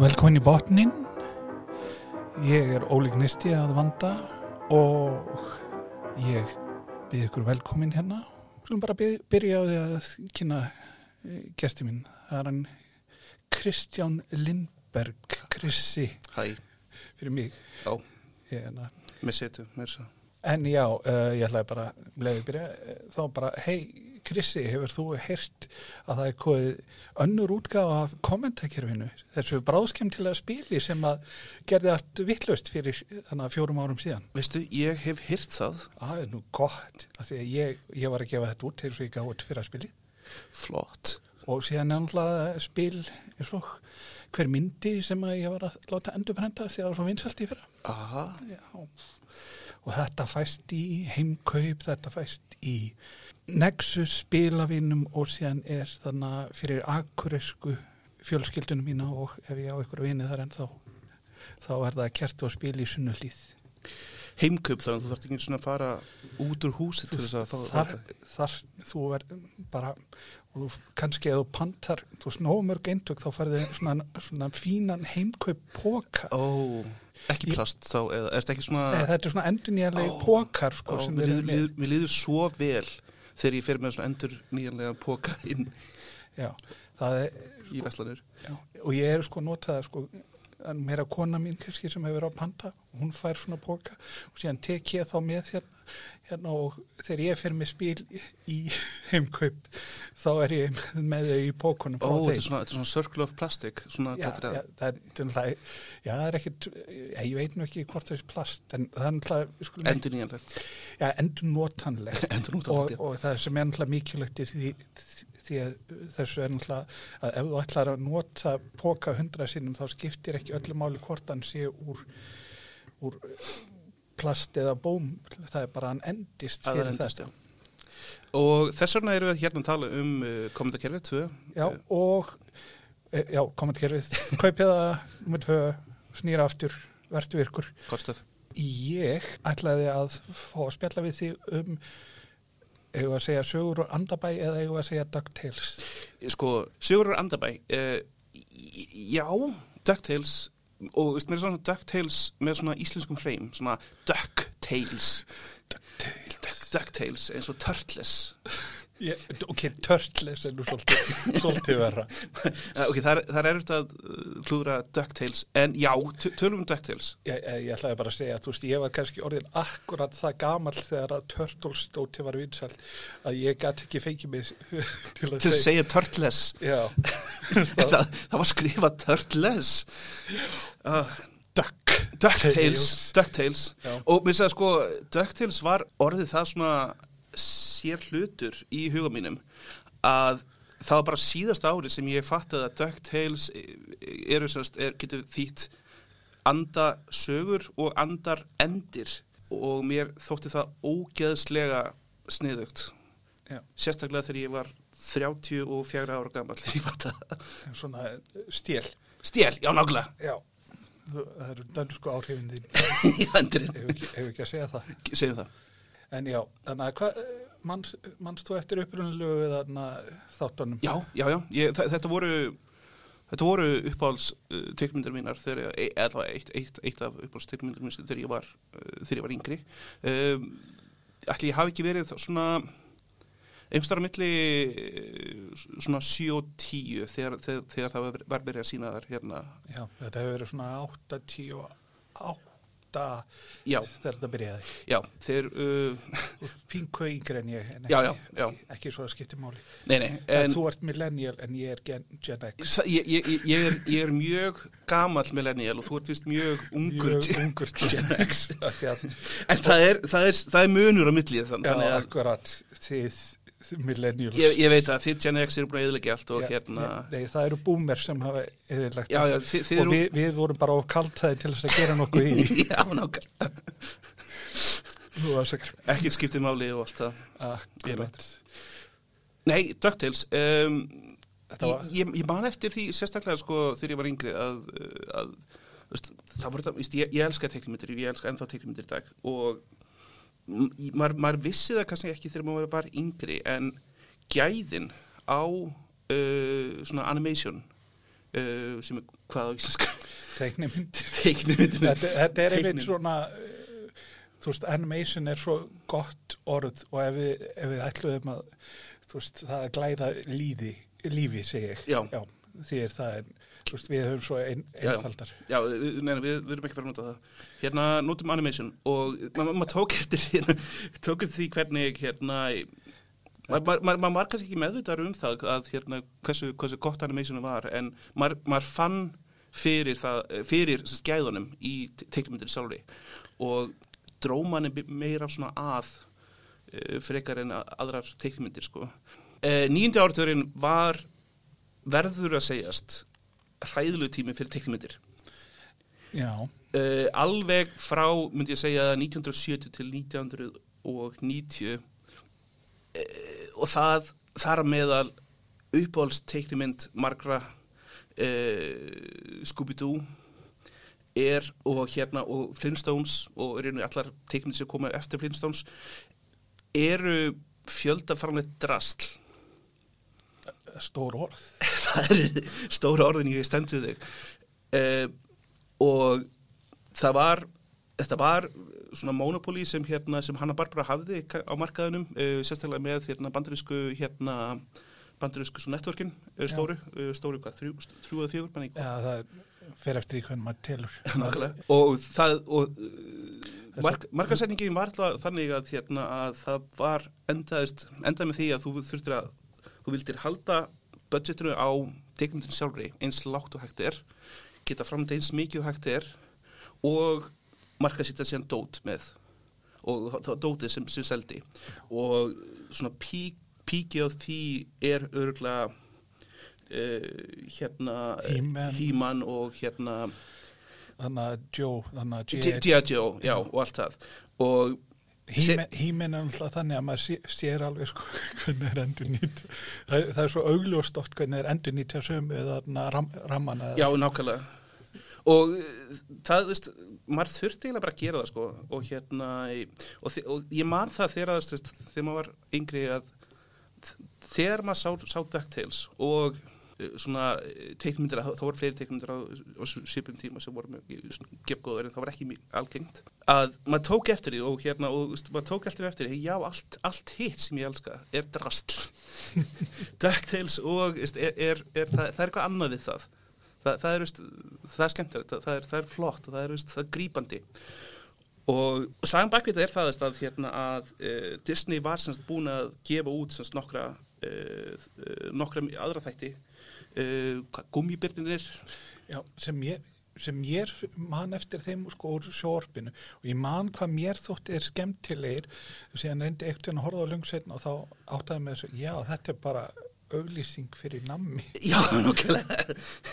Velkomin í botnin Ég er Óli Gnisti að vanda og ég byrði ykkur velkomin hérna Skulum bara by- byrja á því að kynna eh, gesti mín Það er hann Kristján Lindberg Krissi Hæ, fyrir mig já, hérna. með setu, með þess að En já, uh, ég ætlaði bara leiði byrja, eh, þá bara Hei Krissi, hefur þú heyrt að það er komið önnur útgáfa af kommentakerfinu, þessu bráðskemtilega spili sem að gerði allt vittlust fyrir þannig að fjórum árum síðan Veistu, ég hef hýrt það, Það er nú gott, af því að ég, ég var að gefa þetta út þegar svo ég gaf út fyrir að spili flott og síðan er náttúrulega spil eins og hver myndi sem að ég var að láta endurprenda því að það var svo vinsalt í fyrra Aha, Já. Og þetta fæst í heimkaup, þetta fæst í Nexus spilavinum og síðan er þarna fyrir akuresku fjölskyldunum mína og ef ég á ykkur vinið þar en þá þá er það kert og spil í sunnulíð. heimkaup þannig að þú þarft ekki svona að fara út úr húsi til þess að þá Þar, þar þú verð bara og þú, kannski ef þú pantar þú snómörg eintök þá færði svona, svona fínan heimkaup póka Ó, ekki Ég- plast þá, eða, eða þetta ekki Nei, svona Eh, þetta er svona endurnýjanlega Ó, pókar sko, ó, sem mér, þeir líður, eru með. mér, mér líður svo vel þegar ég fer með svona endur nýjanlega póka inn Já, það er í veslanir Já, og ég er sko notað að, sko, en meira kona mín kannski sem hefur verið á panta hún fær svona póka og síðan tek ég þá með hérna, hérna og þegar ég fer með spil í heimkaup þá er ég með þau í pókunum frá Ó, þetta er þeim svona, þetta er svona circle of plastic svona, Já, þetta er já, að- það er, það er, já, það er ekkit, ég, ég veit nú ekki hvort þessi plast, en það er náttúrulega, skulum, ekki- endur nýjanlegt já, endur notanlegt Endurnótanlegt, og, já. og það sem er náttúrulega mikilvægt í því, því að þessu er náttúrulega að ef þú ætlar að nota póka hundra sinnum þá skiptir ekki öllu máli hvort hann sé úr, úr plast eða bóm það er bara að hann endist Að það fyrir endist, þetta. já Og þess vegna erum við hérna að tala um uh, komendakerfið 2 já, og e, já, komandkerfið, kaupið það nummer tvö, snýra aftur vertu virkur. Kostöf Ég ætlaði að fá að spjalla við því um eigum við að segja sögur og andabæ eða eigum við að segja DuckTales sko, Sigurður Andabæ uh, já, DuckTales og veist, mér er svona DuckTales með svona íslenskum hreim, svona DuckTales DuckTales, DuckTales eins og Turtles Ég, ok, Turtles er nú svolítið, svolítið verra. uh, ok, þar, þar er þetta uh, klúðra DuckTales, en já, t- tölum um DuckTales Ég, ég, ég ætlaði bara að segja að þú veist, ég var kannski orðin akkurat það gamall þegar að Turtles stóti var vinsall að ég gæti ekki fengið mig til að til að segja. segja Turtles Já, það, það var skrifað Turtles uh, Duck. DuckTales, DuckTales. Já. og mér segja sko, DuckTales var orðið það svona sér hlutur í huga mínum að það var bara síðast ári sem ég fattaði að DuckTales eru sérst, er, getur þýtt anda sögur og andar endir og mér þótti það ógeðslega sniðugt Já, sérstaklega þegar ég var 34 ára gamall þegar ég fattaði það. svona eh, stél. Stél, já nákvæmlega, Já, Þú- það eru dönsku áhrifin þín. í endurinn, Hefur ekki, hefur ekki að segja það. segjum það En já, þannig að hvað, manns, manns þú eftir upprunalegu við þarna þáttunum? Já, já, já, ég, þe- þetta voru þetta voru uppáhalds uh, tekmyndir mínar þegar, e- eða eitt, eitt, eitt af uppáhalds tekmyndir mínar þegar ég var uh, þegar ég var yngri um, Ætli ég hafi ekki verið þá svona einhverstara milli eh, svona 7 og 10 þegar, þegar, þegar það var- var verið að sína þar hérna, Já, þetta hefur verið svona 8, 10 8 Já. þegar þetta byrjaði. já, þeir uh, Og Pingu yngri en ég, en ekki, Já, já, já. Ekki, ekki svo að skipti máli. nei, nei, En, en þú ert millennial en ég er gen, Gen X. sa- ég, ég, ég- ég, er, ég er mjög gamall millennial og þú ert vist mjög ungur Mjög ungur Gen X. af því að- En það er, það er, það er munur á millið þann, Já, þannig að akkurat, þið þið millennials. ég, ég veit að þið Gen X eru búin að eðlega allt og Já, hérna Nei, nei, það eru boomer sem hafa eðilegt. Já, já, þið- þið og eru- við, við vorum bara of kaltæði til þess að gera nokkuð í. Já, nákvæmlega Nú var sækir. Ekkert skiptið máli og allt það Akkurat. Nei, DuckTales um, Þetta var- ég, ég man eftir því sérstaklega sko þegar ég var yngri að, eh, að þú veist, það voru þetta, víst, ég, ég elska teknimyndir ég elska ennþá teknimyndir í dag og m- í- maður, maður vissi það kannski ekki þegar maður var yngri en gæðin á uh, svona eh, animation uh, sem er hvað á íslensku teiknimynd teiknimyndin þetta, þetta er einmitt Teiknimynd. svona eh, þú veist, animation er svo gott orð og ef við, ef við ætluðum að þú veist, það að glæða líði, lífi segi ég Já. því er það en, þú veist, við höfum svo ein, já. einfaldar Já, við- nei, nei, við, við erum ekki fyrir að nota það. Hérna, notum animation og maður ma ma tók eftir hérna, tók eftir því hvernig, hérna, maður ma ma ma var kannski ekki meðvitaður um það að, hérna, hversu, hversu gott animationu var, en maður ma fann fyrir það, fyrir sérst, gæðunum í teiknumyndir sjálfri og dró manni bi- meira svona að eh, frekar en a- aðrar teiknumyndir, sko. Nýjandi áraturinn var, verður að segjast, hræðilegu tími fyrir teiknumyndir já, uh, alveg frá, myndi ég segja, 1970 til 1990 uh, Eh, og það þar á meðal uppáhalds teiknimynd margra uh, Scooby-Doo er og hérna og Flintstones og í rauninni allar teiknimynd sem koma eftir Flintstones eru fjöldafarnið drastl stór orð það er stóra orðin ég stend við þig uh, og það var þetta var svona monopoli sem hérna sem Hanna Barbara hafði ka- á markaðunum uh, sérstaklega með hérna bandarísku hérna bandarísku svo networkin uh, stóru, uh, stóru hvað, þrjú, þrjú að fjögur, menn ég já, það er- fer eftir í hvernig maður telur Nákvæmlega. og það og, uh, mark, markasetningin var alltaf þannig að, hérna, að það var endaðist, endað með því að þú þurftir að þú vildir halda budgetinu á tekmyndin sjálfri eins lágt og hægt er geta framlega eins mikið og hægt er og markasýtja síðan dót með og það var dótið sem sem seldi og svona pík, píki á því er örgulega uh, hérna He-Man. He-Man og hérna þannig að Joe, þannig að G.I. G.I. Joe, já, og allt það og Hýmen hýmen er alltaf þannig að maður sé, sér alveg sko hvernig er endur nýtt. Það, það er svo augljóst oft hvernig er endur nýtt hjá sömu eða þarna ram, ramman eða já, nákvæmlega og eh, það, veist, maður þurfti eiginlega bara að gera það, sko og hérna, í- og, þi- og ég man það þegar að, veist, þegar maður var yngri að þ- þegar maður sá, sá DuckTales og eh, svona eh, teiknmyndir, þá þá voru fleiri teiknmyndir á, á svipum tíma sem voru mjög eh, svona gefgóðar en það var ekki mjög algengt að maður tók eftir því og hérna og veist, maður tók eftir því eftir því, já, allt, allt hitt sem ég elska er drastl DuckTales og veist, er, er, er, það, það er eitthvað annað við það það, það er, veist, það er skemmtilegt það, það, er, það er flott og það er, veist, það er grípandi og sagum bakvið það er það veist, að, hérna, að uh, Disney var semst búin að gefa út semst nokkra uh, nokkra aðra þætti uh, gummibirnir Já, sem ég, sem ég man eftir þeim sko úr sjórpinu og ég man hvað mér þótti er skemmtilegir og síðan reyndi ekkert að horfa á lungsveitin og þá áttaði með þessu, já þetta er bara auglýsing fyrir nammi já, nokkulega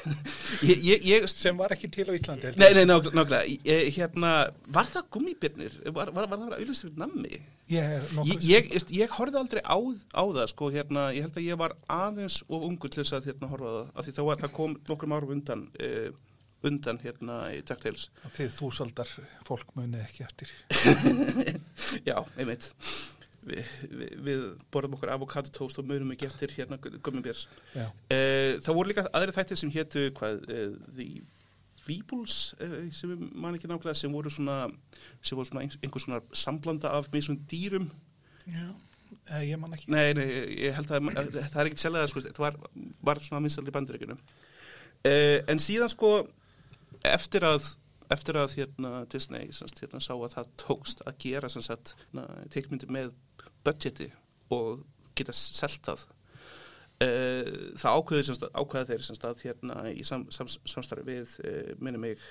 ég, ég, ég sem var ekki til á Íslandi. held Nei, ég. nei, nokk- nokkulega, Ég- hérna, var það gummibirnir? Var, var, var það bara auðvitað fyrir nammi? Ég, er nokkuð- Ég, ég, veist, ég horfði aldrei á, á það sko, hérna, ég held að ég var aðeins og ungur til þess að hérna, horfa á það af því þá var, það kom nokkrum árum undan uh, undan hérna í DuckTales Þið þúsaldar fólk munið ekki eftir. já, einmitt Vi, vi, við borðum okkur avokadotóst og munum ekki eftir hérna gummibjörns Já. uh, það voru líka aðri þættir sem hétu hvað, uh, The Weebles uh, sem ég man ekki nákvæmlega sem voru svona, sem voru svona eins- einhvers konar samblanda af mjög svona dýrum Já, eh, ég man ekki. Nei, nei, ég held að að- það er ekkert seljaða, sko, þetta var, var svona minnstall í bandaríkunum. Uh, en síðan sko, eftir að, eftir að hérna, Disney semst, hérna, sá að það tókst að gera sem sagt, na, teikmyndi með budgeti og geta selt það, uh, það ákveður, semst, að- ákveða þeir semst, að, hérna, í sam, sam, samstarfi við, uh, minni mig,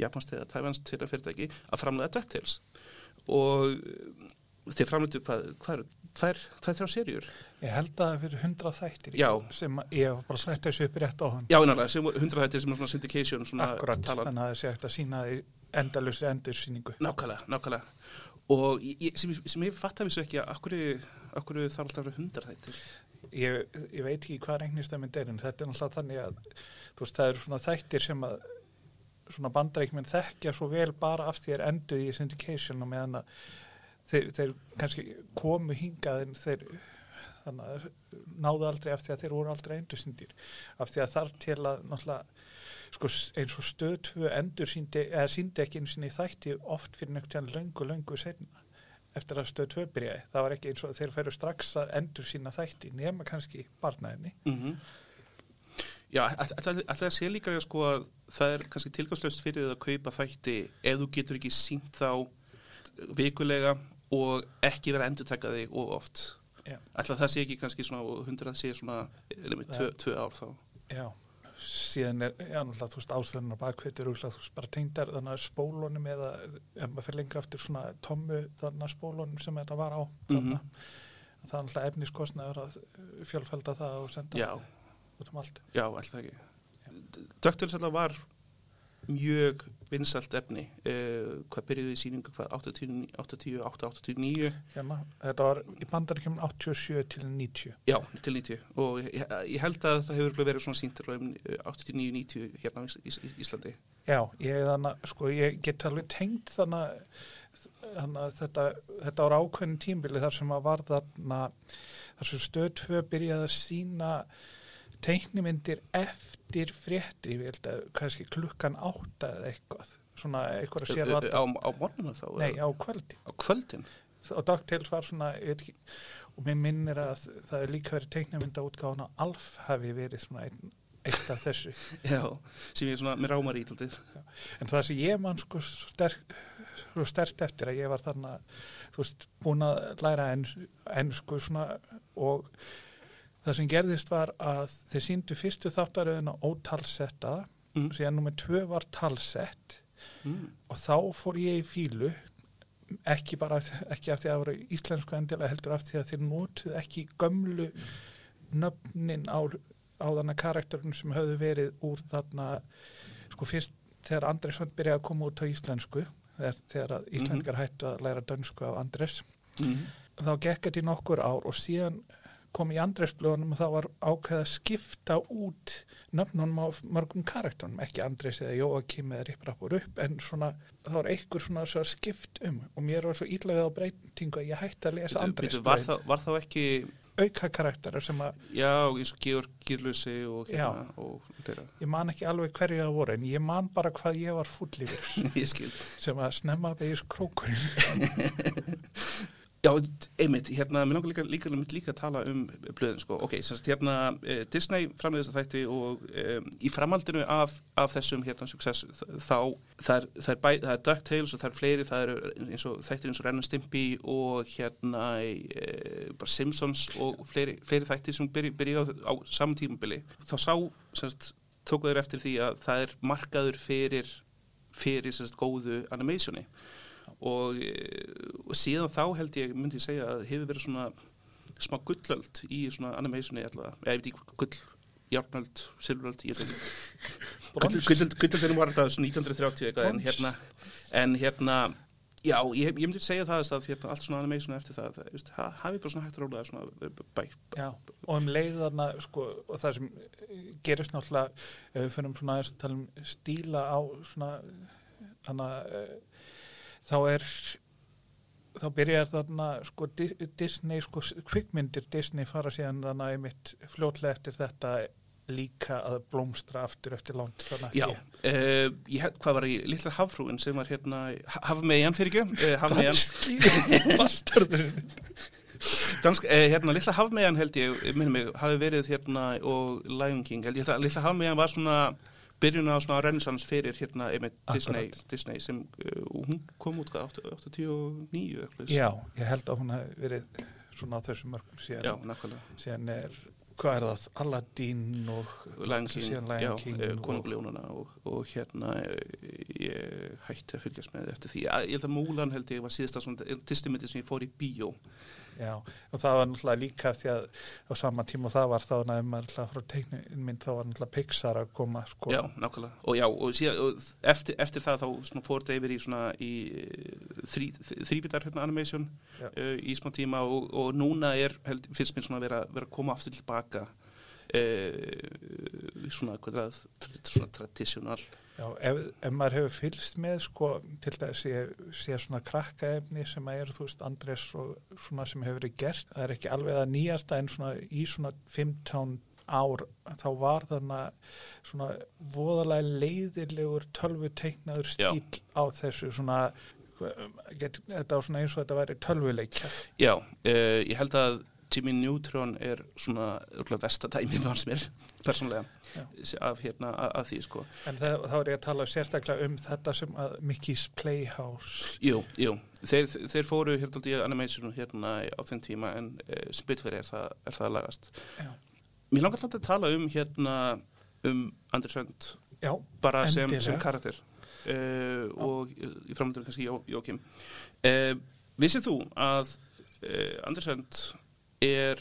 japanst eða tæfanst til að fyrirtæki að framlega DuckTales og eh, þeir framleitu hvað, hvað eru, tvær, tvær þrjá serjur Ég held að það fyrir hundra þættir Já. sem að- ég var bara að slætta þessu upp rétt á hann. já, innanlega, sem hundra þættir sem er svona syndication svona Akkurat, talan, þannig að þessi eftir að sína endalusri endursýningu. nákvæmlega, nákvæmlega og ég, sem, ég- sem ég fatt af þessu ekki að akkur, akkur þarf alltaf að vera hundra þættir Ég, ég veit ekki hvað regnist það mynd er en þetta er náttúrulega þannig að þú veist, það eru svona þættir sem að svona bandarækminn þekkja svo vel bara af því er enduð í syndication og meðan að þeir, þeir kannski komu hingað en þeir þannig að náðu aldrei af því að þeir voru aldrei endursýndir af því að þar til að náttúrulega sko, eins og stöð tvö endursýndi eða síndi ekki einu sinni þætti oft fyrir nögtjan löngu löngu senna eftir að stöð tvö byrjaði það var ekki eins og þeir færu strax að endursýna þætti nema kannski barnaðinni Mhm. Já, alltaf að sé líka sko að það er kannski tilgangslöst fyrir þið að kaupa þætti ef þú getur ekki sínt þá vikulega og ekki vera að endurtaka þig of oft. Já. Alltaf það sé ekki kannski svona og hundrað sé svona nefnir tvö, tvö ár þá. já, síðan er já, náttúrulega þú veist ástæðan á bakveit er úrlega þú veist bara tengdar þannig að spólunum eða ef maður fyrir lengra aftur svona tommu þannig að spólunum sem þetta var á þannig Mhm. það er náttúrulega efniskostnaður að uh, fjölfælda það og senda Já, út um allt já, alltaf ekki. Döktur alltaf var mjög vinsalt efni. Uh, hvað byrjuði í síningu? Hvað? 80, 80, 89? hérna, þetta var í bandaríkjum 87 til 90 Já, til 90 og ég, ég held að það hefur örugglega verið svona síntur um 89-90 hérna á Ís- Ís- Íslandi. já, ég, þannig, að, sko, ég get alveg tengt þannig þannig að þetta, þetta var ákveðin tímbili þar sem að var þarna þar sem stöð 2 byrjaði að sína teiknimyndir eftir fréttir, ég held að kannski klukkan átta eða eitthvað svona eitthvað að sér Ö- var ö- Eh, á, á morgunum þá? nei, eða á kvöldi Á kvöldin? og DuckTales var svona ég veit ekki, og mér minnir að það er líka verið teiknamynda útgáðan að Alf hafi verið svona einn, eitt af þessu Já, sem ég svona, mér rámar í taldið. en það sem ég man sko sterk, svo stert eftir að ég var þarna þú veist, búin að læra ens, ensku svona og það sem gerðist var að þeir síndu fyrstu þáttaröðina ótalsetta Mm. síðan nummer tvö var talsett Mm. og þá fór ég í fílu ekki bara af, ekki af því að það voru íslensku endilega heldur af því að þeir notuð ekki gömlu nöfnin á, á þarna karakterun sem höfðu verið úr þarna sko fyrst þegar Andresson byrjaði að koma út á íslensku þegar, þegar að íslenskar hættu að læra dönsku af Andres Mm. þá gekk þetta í nokkur ár og síðan kom í Andresblöðunum og þá var ákveð að skipta út nöfnunum á mörgum karaktunum, ekki Andres eða Jóakim eða Ripprapur upp, en svona þá var einhver svona svo skipt um og mér var svo illa við á breytingu að ég hætti að lesa Býtu, Mm. var, Andresblöðin, þá- var þá ekki, auka karakterar sem að já, eins og Georg Gýrlusi og hérna og þeirra. ég man ekki alveg hverju það voru en ég man bara hvað ég var full yfir ég skil. sem að snemma beigis krókurinn Já, einmitt, hérna, mér langar líka, líka, líka, líka að tala um blöðin, sko. Ok, semst, hérna, eh, Disney framleiði þessa þætti og um, í framhaldinu af, af þessum, hérna, success, þ- þá, það er, það er, bæ, það er DuckTales og það er fleiri, það eru eins og þættir eins og Ren and Stimpy og, hérna, e, bara Simpsons og fleiri, fleiri þættir sem byrja, byrja á, á saman tímabili. Þá sá, semst, tókuður eftir því að það er markaður fyrir, fyrir, semst, góðu animationi og, eh, og síðan þá held ég, myndi ég segja að hefur verið svona smá gullöld í svona animationi allavega, eða ég veit ekki gull járnöld, silfuröld, ég veit ekki Gull- gullöld- gullöldinum var alltaf svona 1930 eitthvað en Brons. hérna, en hérna já, ég, ég myndi segja það að hérna, allt svona animationi eftir það, það veist, ha- hafi bara svona hægt að róla það svona bæ, bæ. Já, og um leiðarna sko, og það sem eh, gerist náttúrulega ef við fyrir svona aðeins að tala um stíla á svona þannig að þá er þá byrjar þarna sko Di- Disney, sko kvikmyndir Disney fara síðan þannig að einmitt fljótlega eftir þetta líka að blómstra aftur eftir langt þannig Já, uh, ég, held- hvað var ég, litla hafrúin sem var hérna, hafmeyjan fyrir ekki, uh, hafmeyjan, Danski bastardurinn Dansk, eh, hérna, Lilla Hafmeyjan held ég, minnum mig, hafi verið hérna og Lion King, held ég að Lilla Hafmeyjan var svona byrjun á svona renaissance fyrir hérna einmitt Disney, Disney sem uh, og hún kom út hvað, 89 eitthvað. Já, ég held að hún hafi verið svona á þessum mörgum síðan Já, nákvæmlega. síðan er, hvað er það, Aladdin og Lion King, síðan já, Lion King eh, og- konunguljónuna og, og hérna eh, ég hætti að fylgjast með eftir því. Ég held að Múlan held ég var síðasta svona distimyndi sem ég fór í bíó. já, og það var náttúrulega líka því að á sama tíma og það var þá ef maður náttúrulega frá teiknumynd þá var náttúrulega Pixar að koma sko Já, nákvæmlega. Og já, og, síðan, og eftir, eftir það þá svona, fór þetta yfir í svona í eh, þrí, þrýbitar hérna animation eh, Já. uh, í smá tíma og, og núna er, held, finnst mér svona að vera, vera að koma aftur tilbaka uh, svona, hvað er það, tra- svona tradisjonal Já, ef, ef maður hefur fylgst með sko, til þess ég sé svona krakkaefni sem að er, þú veist, Andrés og svona sem hefur verið gert, það er ekki alveg að nýjasta en svona í svona 15 ár, þá var þarna svona voðalega leiðilegur tölvuteiknaður Já. stíl á þessu svona get, þetta var svona eins og þetta væri tölvuleikja Já, uh, ég held að Jimmy Neutron er svona örugglega versta dæmi fannst mér, persónlega Já. af hérna að, að því sko en það, þá er ég að tala sérstaklega um þetta sem að Mickey's Playhouse Jú, jú, þeir, þeir fóru hérna dálítið í animation hérna á þeim tíma en uh, spilfæri er, það- er það að lagast Já, Mér langar alltaf að tala um hérna um Andri Sönd Já bara sem, Endilega. sem karakter uh, og í framöndur kannski Jó, Jókim uh, Vissið þú að uh, Andersend er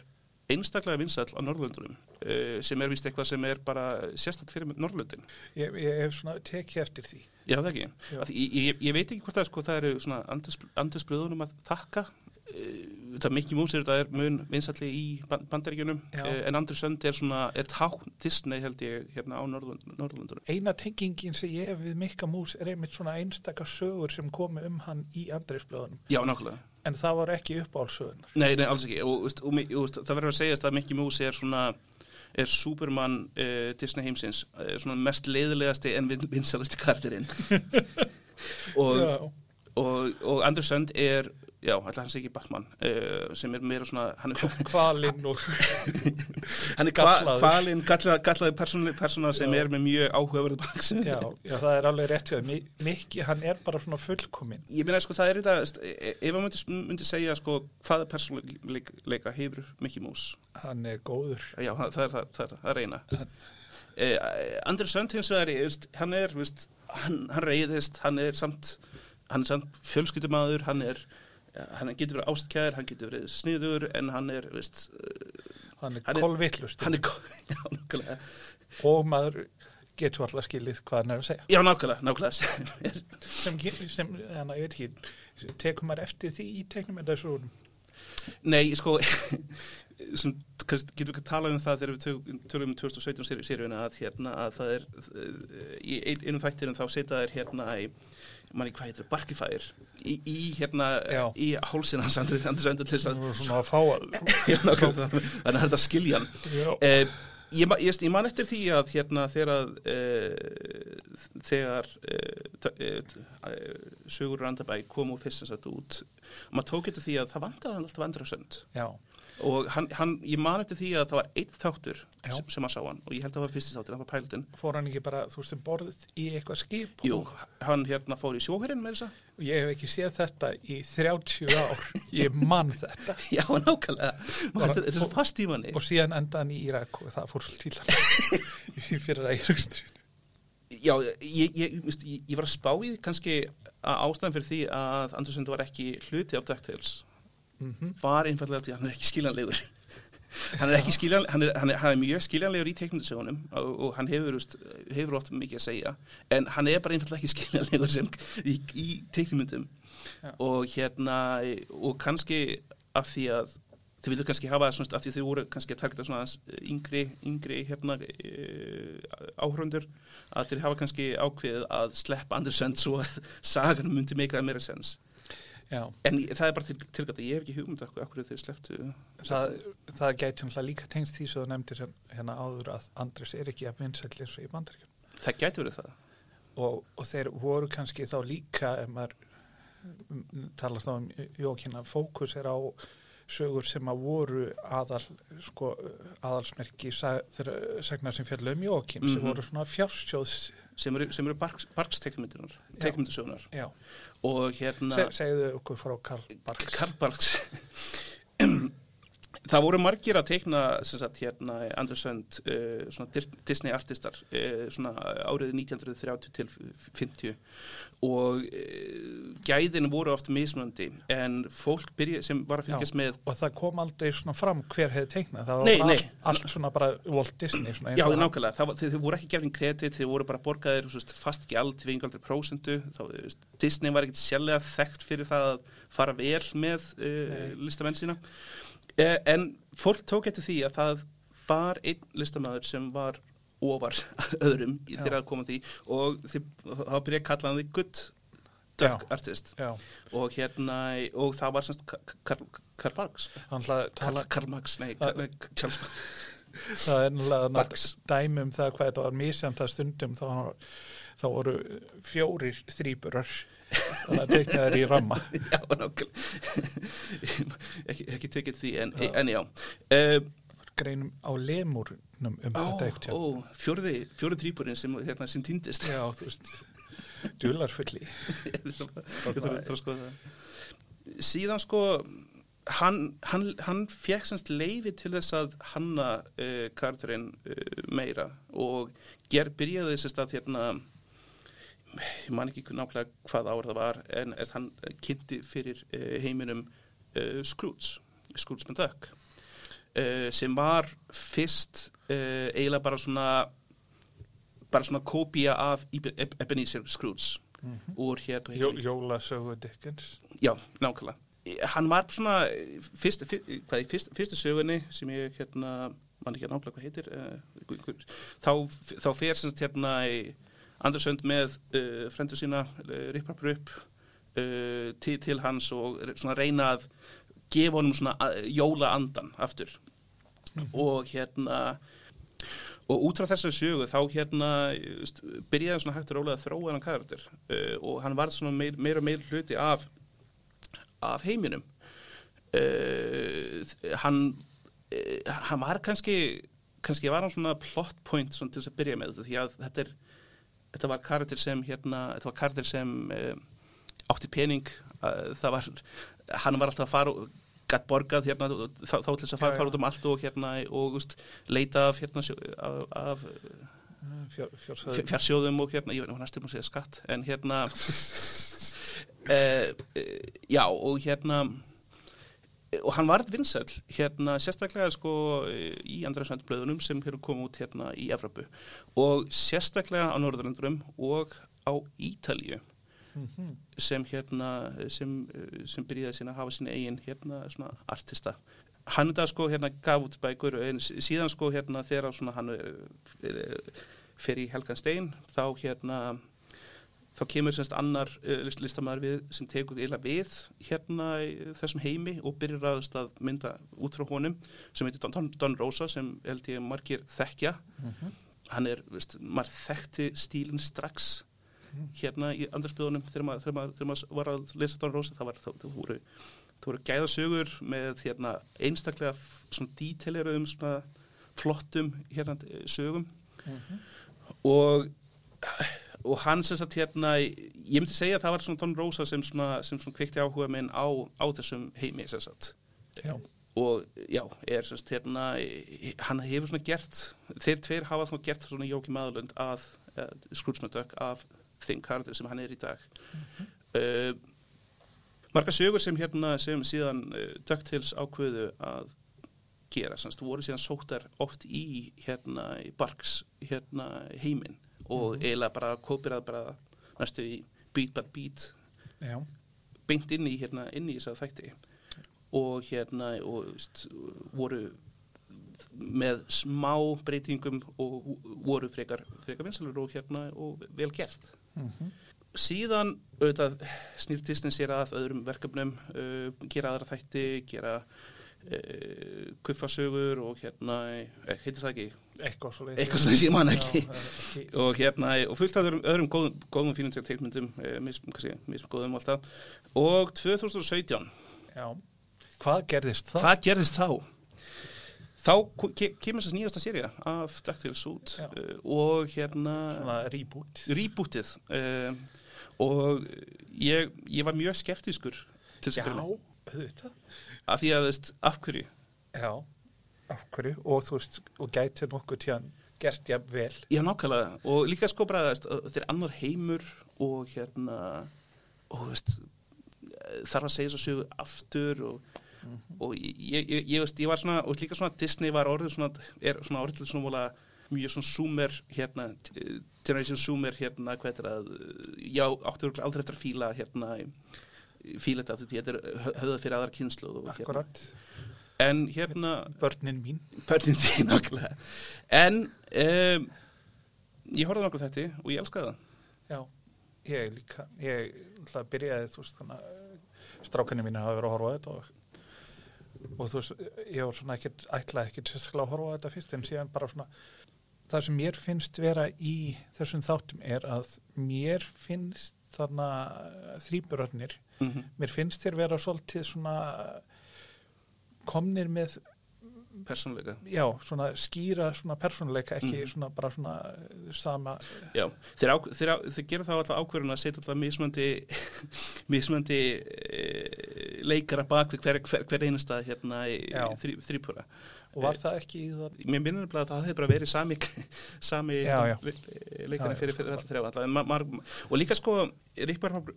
einstaklega vinsall á Norrlöndunum uh, sem er vist eitthvað sem er bara sérstætt fyrir Norrlöndin ég, ég hef svona tekið eftir því Já, það ekki. Já. Af því Ég, ég, ég veit ekki hvort það, sko, það eru svona andusblöðunum að þakka. Eh, Það Mickey Mouse er, það er mun vinsalli í bandaríkjunum, Eh, Já. en Andri Sönd er svona, er tákn Disney held ég hérna á Norðurlönd- Norðurlöndunum. eina tengingin sem ég hef við Mikka Mús er einmitt svona einstaka sögur sem komi um hann í andreisblöðunum Já, nákvæmlega. en það var ekki uppáhalsögunar Nei, nei, alls ekki. Og, veist, og, mi- og, veist, það verður að segjast að Mickey Mouse er svona er Superman uh, Disney heimsins uh, svona mest leiðilegasti en vin, vinsalasti karakterinn og, og, og Andrew Sund er já, ætla hans ekki Batman uh, sem er meira svona hann er, kvalinn og hann er kva, Gallaður. kvalinn, gallaði, gallaði persóna, persóna sem Já. er með mjög áhugaverð baksu já, já, það er alveg rétt hjá þér. Mi- Mikki, hann er bara svona fullkominn ég meina sko það er þetta veist, e- e- ef maður myndi, myndi segja sko hvaða persónuleika hefur Mickey Mouse hann er góður já, það, það, er það, það, er það, það er eina eh, Andri Sönd hins vegar ég veist, hann er, veist, hann, hann reyðist hann er samt, hann er samt fjölskyldumadur, hann er hann getur verið ástkjær, hann getur verið sniður en hann er, veist, hann er Hann er- kolvillust hann er gó- já, nákvæmlega, og maður getur alltaf skilið hvað hann er að segja já, nákvæmlega, nákvæmlega sem er, sem, sem hann, ég veit ekki tekum maður eftir því í tegnum en þessu Nei, sko sem, kannski, getur ekki að tala um það þegar við tök- tölum um 2017 seri- seríuna að hérna að það er eh, í ein- einum þættinum þá setja þær hérna í manni hvað heitir, barkifæðir í, í hérna, Já. í hálsinn hans andri, andri sendur til þess að svona að fá að Já, nákvæmlega, þannig að það er hægt að skilja hann já, Eh, ég, ma- ég, ég man eftir því að hérna þegar að, eh, þegar eh, t- eh, t- eh, sögur Randabæ kom úr fyrst sem þetta út maður tók eftir því að það vandaði hann alltaf andra sönd já, og hann, hann, ég man eftir því að það var einn þáttur Já. sem, sem að sá hann og ég held að það var fyrsti þáttur, það var pælutinn fór hann ekki bara þú veist um borðið í eitthvað skip Jú, hann hérna fór í sjóherinn með þess að Ég hef ekki séð þetta í 30 ár. Ég man þetta. Já, nákvæmlega, Maður- þetta þetta er svo fast í manni Og síðan enda hann í Irak og það fór svolítið til hann fyrir það í rauksturinn. Já, ég, ég, ég, ég, ég var að spá í því kannski að ástæðan fyrir því að Andersson var ekki hluti af DuckTales Mm var einfallega því að hann er ekki skiljanlegur hann er ekki skiljanlegur hann er, hann er, hann er mjög skiljanlegur í teikmyndasögunum og, og hann hefur, veist, hefur oft mikið að segja en hann er bara einfallega ekki skiljanlegur sem í, í teikmyndum Já. og hérna og kannski af því að þau vildu kannski hafa svona, af því þau voru kannski að targeta svona aðeins eh, yngri, yngri hérna, e, áhrundur að þeir hafa kannski ákveðið að sleppa Andersson svo að sagan myndi meika meira sens Já, En ég- það er bara til, tilgæta, ég hef ekki hugmynd af hverju þeir slepptu. það, það gæti hann líka tengst því sem þú nefndir hér- hérna áður að Andrés er ekki að vinsætli eins og í bandaríkjum. Það gæti verið það. Og, og þeir voru kannski þá líka, ef maður mm, talar þá um Jókina, fókus er á sögur sem að voru aðal, sko, aðalsmerki sa- þeirra sagnar sem fjallu um Jókin, Mhm. sem voru svona fjársjóðs Sem eru, sem eru barks, barkstekmyndunar, Já. tekmyndasögunar. Já, Og hérna, Se, segðu okkur frá Karl Barks. Karl Barks. það voru margir að tekna, sem sagt, hérna, Andersönd, uh, svona Dir- Disney artistar, uh, svona árið 1930 til 50 og uh, gæðin voru oft mismöndi en fólk byrja, sem var að fylgjast með og það kom aldrei svona fram hver hefði teiknað, það var Nei, bara nei. allt, allt svona bara Walt Disney svona eins Já, og hann- nákvæmlega, það, var- þeir, þeir voru ekki gefin kredit, þeir voru bara borgaðir þú veist, fast gjald við yngaldri prósendu, þá, þú veist, Disney var ekkit sérlega þekkt fyrir það að fara eh, E, vel með uh, listamenn sína, uh, en fólk tók eftir því að það bar einn listamæður sem var ofar öðrum í þegar að koma að því og þið, þá byrja að kalla hann því good duck Já. artist Já, og hérna, og það var semst Ka- Karl Karl Marx hann hlaði Karl tala, Karl Marx, nei, Það- Karl- Charles Marx það er náttúrulega Barks. dæmi um það hvað þetta var misjant að stundum þá, þá voru fjórir þrýburar þannig að tekna þær í ramma já, nákvæmlega ekki, ekki tekið því, en já, en já. Uh, greinum á lemurnum um ó, þetta ekkert ó, fjórði, fjórði þrýburinn sem, hérna, sem týndist Já, þú veist, dularfulli Ég þarf að- ég þarf að skoða það. síðan sko hann, hann, hann fekk semst leifi til þess að hanna uh, karakterinn uh, meira og ger byrjaði semst að hérna ég man ekki nákvæmlega hvað ár það var en eh, hann kynnti fyrir uh, heiminum uh, Scrooge Scrooge McDuck uh, sem var fyrst uh, eiginlega bara svona bara svona kópía af Ebe- Eb- Ebenezer Scrooge úr hérna, hér Mhm. Jó, Jólasögu Dickens Já, nákvæmlega. Hann var svona, eh, fyrst, fyrst, hvað, í fyrst, fyrstu sögunni sem ég hérna, mann ekki nákvæmlega hvað heitir, uh, gu, gu, þá, þá fer sem sagt hérna í Andersönd með uh, frendur sína, uh, Ripparpur upp, uh, til, til hans og re- svona reyna að gefa honum svona uh, jóla andan aftur. Og hérna, og út frá þessari sögu þá hérna eh, st- byrjaði svona hægt og rólega að þróa hann karakter uh, og hann varð svona meir, meira og meira hluti af af heiminum uh, hann uh, hann var kannski kannski var hann svona plot point svona til þess að byrja með þetta því að þetta er þetta var karakter sem hérna þetta var karakter sem uh, átti pening uh, það var hann var alltaf að fara og gatt borgað hérna þá, þá til þess að Já, fara, já. fara út um allt og hérna og úst, leita af hérna sjó- af, af Fjár, Fjársöðu fjár- fjársjóðum og hérna, ég veit, nú, hann er styrma að segja skatt en hérna e, e, já og hérna eh, og hann varð vinsæll hérna sérstaklega sko eh, í andrasöndblöðunum sem hefur komið út hérna í Evropu og sérstaklega á Norðurlandurum og á Ítalíu Mhm, sem hérna sem, eh, sem byrjaði sína að hafa sína eigin hérna svona artista hann þetta sko hérna gaf út bækur en s- síðan sko hérna þegar svona hann eh, fer í Helgan Stein þá hérna þá kemur semst annar eh, list, listamæður við sem tekur eiginlega við hérna í þessum heimi og byrjar aðast að mynda út frá honum sem heitir Don, Don, Don Rosa sem held ég margir þekkja mhm, hann er, veist, maður þekkti stílinn strax hérna í andarspjóðunum þegar maður, þegar, maður, þegar maður var að lesa Don Rosa það, var, það, það voru það voru gæðasögur með hérna, einstaklega f- svona díteleröðum svona flottum hérna, eh, sögum mhm. og og hann sem sagt hérna ég myndi segja að það var svona Don Rosa sem svona, sem svona kvikti áhuga minn á, á þessum heimi sem sagt Já, og já, er sem sagt hérna hann hefur svona gert þeir tveir hafa svona gert svona Jóki Maðurlund að uh, skrútsmöndök af þinn kardur sem hann er í dag mm marga sögur sem hérna sem síðan uh, DuckTales ákveðu að gera semst, voru síðan sóttar oft í hérna í Barks hérna heiminn og eiginlega bara kópirað bara næstu í beat by beat já, beint inn í hérna inn í þess að þætti og hérna og veist, voru með smá breytingum og voru frekar, frekar vinsalur og hérna og vel gert síðan auðvitað snýr Disney sér að öðrum verkefnum uh, gera aðra þætti, gera uh, kuffasögur og hérna, eh, heitir það ekki eitthvað svo leið eitthvað sem ég man ekki ekki og hérna og fullt af öðrum, öðrum góðum, góðum fínum teikmyndum, eh, mis, kannski, mis góðum alltaf og 2017 Já, hvað gerðist það? Hvað gerðist þá? Þá ku- ke- kemur þess nýjasta sérija af DuckTales út Já. uh, og hérna Svona reboot rebootið uh, og ég, ég var mjög skeptískur til þess Já, að byrja með. auðvitað af því að veist, af hverju Já, af hverju og þú veist, og gæti nokkuð tíðan gert jafn vel Já, nákvæmlega, og líka sko bara veist, að þetta er annar heimur og hérna og veist, e, þarf að segja þess að sögu aftur og, og ég, ég, ég, veist, ég var svona og líka svona Disney var orðið svona, er svona orðið til svona vola mjög svona zoomer hérna, eh, generation zoomer hérna, hvað þetta er að eh, já, áttur aldrei eftir að fíla hérna, fíla þetta af því þetta er höfðað fyrir aðra kynslu og, Akkurat, En hérna, börnin mín börnin þín okkurlega. En um, ég horfði nokkuð þetta og ég elskaði það. Já, ég líka, ég ætla að byrjaði, þú veist, þannig að strákanir mínu hafa verið að horfa á þetta og, og þú veist, eh, ég var svona ekkert, ætlaði ekkert sérstaklega að horfa á þetta fyrst en síðan bara svona, það sem mér finnst vera í þessum þáttum er að mér finnst þarna þrýburarnir, Mm mér finnst þér vera svolítið svona eh, komnir með Persónleika. já, svona skýra svona persónuleika, ekki Mhm. svona bara svona eh, sama, Já, þeir, á, þeir, á, þeir gera þá alltaf ákverðun að setja alltaf mismöndi, mismöndi e, leikara bak við hver, hver, hver einasta hérna í Já. þrý, þrýpura. og var það ekki í það Mér minnir nefnilega að það hefði bara verið sami, sami Já, já. Já, leikari já, fyrir, fyrir alltaf þrjá. Alltaf, en ma- mar- og líka sko,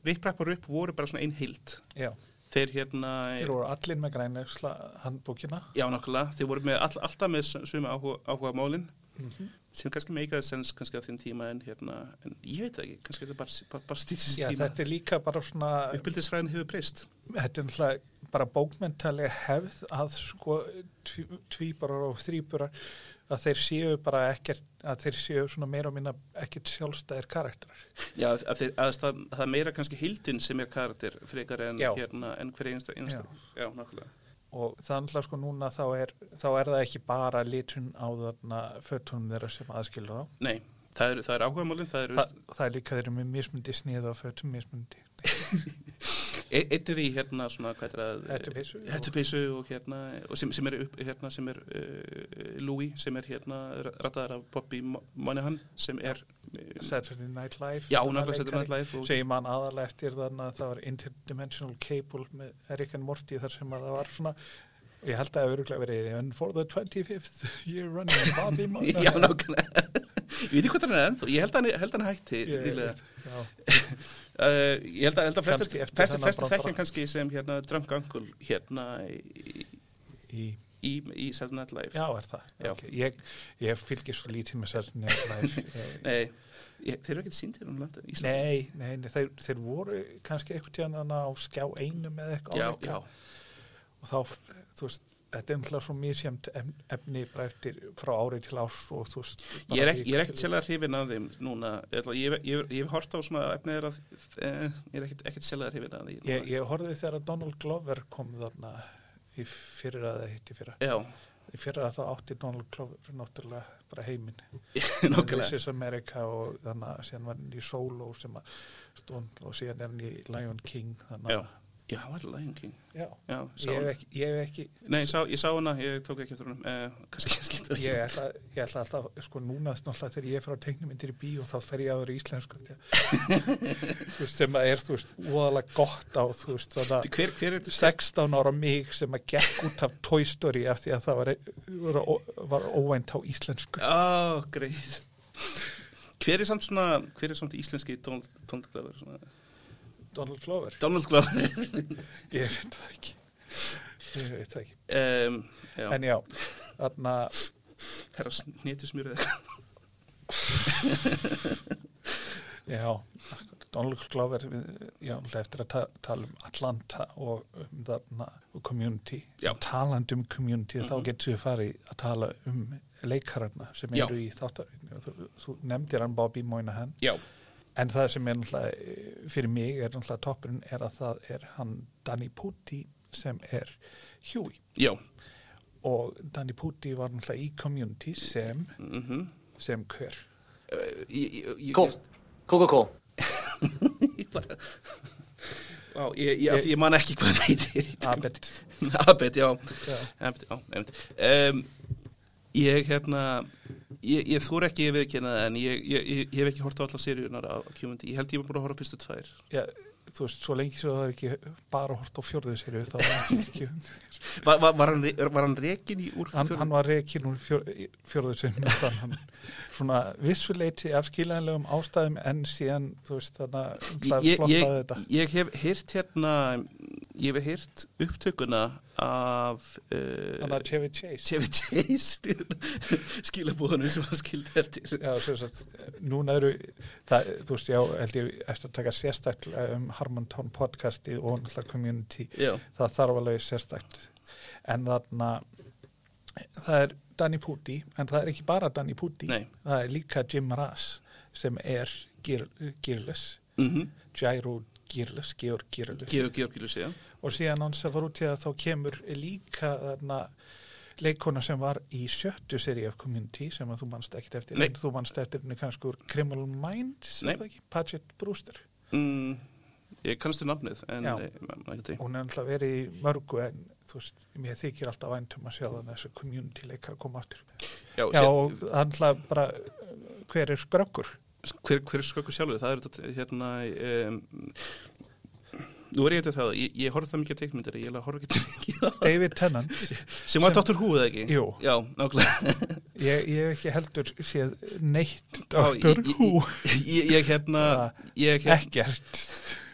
Ripprappar upp voru bara svona ein heild. já Þeir hérna... Þeir voru allir með grænlegsla handbókina. Já, nákvæmlega. Þeir voru með all, alltaf með svömi áhuga, áhuga málin Mhm. sem kannski meikaði sens kannski á þeim tíma en hérna, en ég veit það ekki, kannski er þetta bara, bara, bara stýrst Já, tíma. þetta er líka bara svona, Uppbyldisfræðin hefur breyst. þetta er náttúrulega bara bókmentalega hefð að sko tví- tvíburar og þrýburar að þeir séu bara ekkert, að þeir séu svona meira og minna ekkert sjálfstæðir karakterar. Já, að, að, þeir- að það, það er meira kannski hildin sem er karakter frekar en, Já. hérna, en hver einasta, einasta. Já, nákvæmlega. Og þannig að sko núna þá er, þá er það ekki bara litun á þarna fötunum þeirra sem aðskilur þá. Nei, það eru er áhuga málin, það eru... Þa, það er líka þeir eru með mismundi snið á fötum mismundi. E- Einn er í hérna svona, hvað er það? Hettupeysu og- Hettupeysu og hérna, og sem, sem er upp, hérna, sem er uh, Louis, sem er hérna rattaðar af Bobby Mo- Monahan, sem er... eh, Saturday Night Live. Já, þarna nákvæmlega Saturday leikari. Night Live og... sem ég man aðalega eftir þarna að það var Interdimensional Cable með Rick and Morty þar sem að það var svona og ég held að það hafi örugglega verið and for the 25th year running Bobby Monahan Já, nákvæmlega. Ég veit ekki hvað hann er ennþá, ég held að hann, held að hann hætti Ég- nýlega. já, Uh, ég held að, held að Kannski flestir eftir flestir, þennan flestir brandara. þekkja hann kannski sem hérna Drunk Uncle hérna í, í, í, í Saturday Night Live. já, er það Já. Ok, ég, ég fylgir svo lítið með Saturday Night Live Ég- Nei, ég, þeir eru ekki síndir um landa Íslandi. Nei, nei, nei þeir, þeir voru kannski einhvern tíðan þarna á skjá einum eða eitthvað já, álíka. já. og þá, f- þú veist, þetta er ennlega svo misjæmt ef- efni bara eftir frá ári til árs og þú veist Ég er bara ekki, viku ég er ekkert til- sérlega hrifin af þeim núna, ég, ætla- ég, ég, ég hef hort á svona efnið þeirra, eh, ég er ekkert, ekkert sérlega hrifin af því. núna. Ég, ég horfði þegar að Donald Glover kom þarna í fyrir að það hitti fyrir. Já, Í fyrir að þá átti Donald Glover náttúrulega bara heiminn. This nokkulega. is America og þannig að síðan var hann í Solo sem að stund og síðan er hann í Lion King. Þannig Já, að, já, hann var Lion King. já. Já, sá Ég hef hann. ekki, ég hef ekki, Nei, ég sá, ég sá hana, ég tók ekki eftir húnum, eh, kannski ég skilta ekki. ég ætla, ég ætla alltaf, sko núna náttúrulega þegar ég er frá teiknumindir í bíó þá fer ég aður í íslensku. því að- Þú veist, sem að er, þú veist, úðalega gott á, þú veist, þannig að Hver, hver er 16 ára mig sem að gekk út af Toy Story af því að það var, var, var óvænt á íslensku. Á, greið. Hver er samt svona, hver er samt íslenski Donald, Donald Glover? Svona? Donald Glover, Donald Glover. ég veit það ekki. Ég veit það ekki. um, já, En já, þarna, herra snétusmjörið eitthvað. já, akkurat, Donald Glover, við- já, náttúrulega eftir að ta tala um Atlanta og um þarna, og community. Já. Talandi um community, Mhm. þá getur við farið að tala um leikararna sem Já. eru í þáttarinu. Þú, þú nefndir hann Bobby Moynihan. Já, En það sem er náttúrulega eh, fyrir mig er náttúrulega toppurinn er að það er hann Danny Pudi sem er Huey já. og Danny Pudi var náttúrulega í community sem, Mm sem hver Eh, Cool. Cool, cool, cool. Ég bara... Vá, ég, ég, ég, ég man ekki hvað hann heitir. Abed Abed, já. Já. Abed, já, einmitt. Um, ég, hérna, ég, ég þúr ekki að viðkynna það en ég, ég, ég, ég hef ekki hort á alla seríunar á Q&D. Ég held ég var búin að horfa á fyrstu tvær. Já, þú veist, svo lengi sem það er ekki bara hort á fjórðu serju þá var hann ekki Var, var, var, hann, re- var hann rekin í úr hann, fjórðu- hann var reikin úr fjór, fjórðu serju þannig hann svona vissuleiti af skiljanlegum ástæðum en síðan þú veist þannig að ég, ég, flottaði þetta ég hef heyrt hérna ég hef heyrt upptökuna af Þannig uh, að Chevy Chase. Chevy Chase skilabúðanum sem hann skildi eftir Já, sem sagt, núna eru, það, þú veist, já, held ég eftir að taka sérstaklega um Harmon Town podcastið og náttúrulega community. já, Það þarf alveg sérstakt. En þarna, það er Danny Pudi, en það er ekki bara Danny Pudi. nei Það er líka Jim Rass sem er gear, Gearless, mm Gyro Gearless, Georg Gearless. Georg Georgilus, já og síðan hann sem var út í það þá kemur líka þarna leikona sem var í sjöttu seri af Community sem að þú mannst ekkert eftir Nei. en þú mannst eftir henni kannski úr Criminal Minds Nei. er það ekki, Padgett Brewster mm, ég kannst þér nafnið en Já. eh, man ekki til. hún er alltaf verið í mörgu en þú veist, mér þykir alltaf væntum að sjá þannig þessu Community leikar að koma aftur já, já sér- og alltaf bara uh, hver er skrökkur hver, hver skökkur sjálfur, það er þetta hérna um, nú er ég eitthvað það, ég, ég horf það mikið að teikmyndir, ég eiginlega horf ekki teikmyndir David Tennant, sem var Dr. Who eða ekki jú, já, nákvæmlega ég, ég hef ekki heldur séð neitt Já, Dr. ég- ég- Who ég, ég hérna, ég hef, ekkert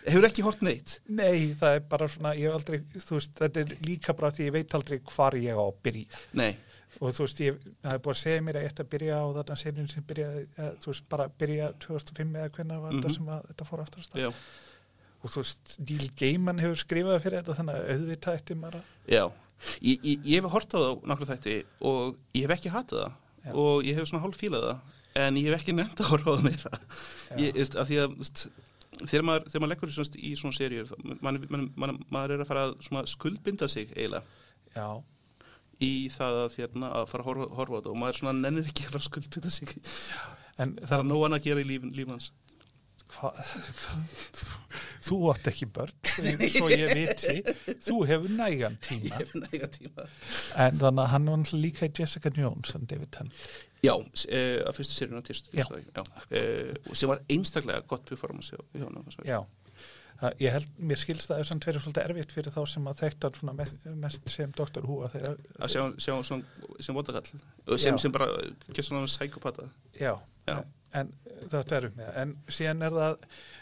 hefur ekki hort neitt Nei, það er bara svona, ég hef aldrei, þú veist, þetta er líka bara því ég veit aldrei hvar ég á að byrja nei, og þú veist, ég, það er búið að segja mér að ég ætti að byrja á þarna serjum sem byrjaði, eða, þú veist, bara byrja 2005 eða hvernig var Mhm. þetta sem að, þetta fór aftur að stað já, og þú veist, Neil Gaiman hefur skrifað fyrir þetta þannig að auðvitað eftir maður að já ég, ég, ég hef hort á það nokkra þætti og ég hef ekki hatað það Já. og ég hef svona hálf fílað það en ég hef ekki nefnt að horfa á það meira ég, veist, af því að veist, þegar, maður, þegar maður leggur í svona, í svona seríur maður, maður, maður, maður er að fara að svona skuldbinda sig eiginlega Já, í það að, hérna, að fara að horfa, horfa á þetta og maður svona nennir ekki að fara að skuldbita sig en það það er nóg annað að gera í lífin, lífans hva, þú átt ekki börn svo ég viti, þú hefur nægan tíma hef næga tíma en þannig að hann var náttúrulega líka í Jessica Jones en David Tennant já, s- eh, að fyrstu seríun að týrstu Já. sem var einstaklega gott performance hjá, hjá honum, svo. Já, Það- ég held, mér skilst það þess að verið svolítið erfitt fyrir þá sem að þekkta svona me- mest sem Dr. Who að þeirra, að sjá, sjá svona, sem vondakall og sem, Já. sem bara gerst svona sækopata já, Já. en þetta er erfitt með, það. en síðan er það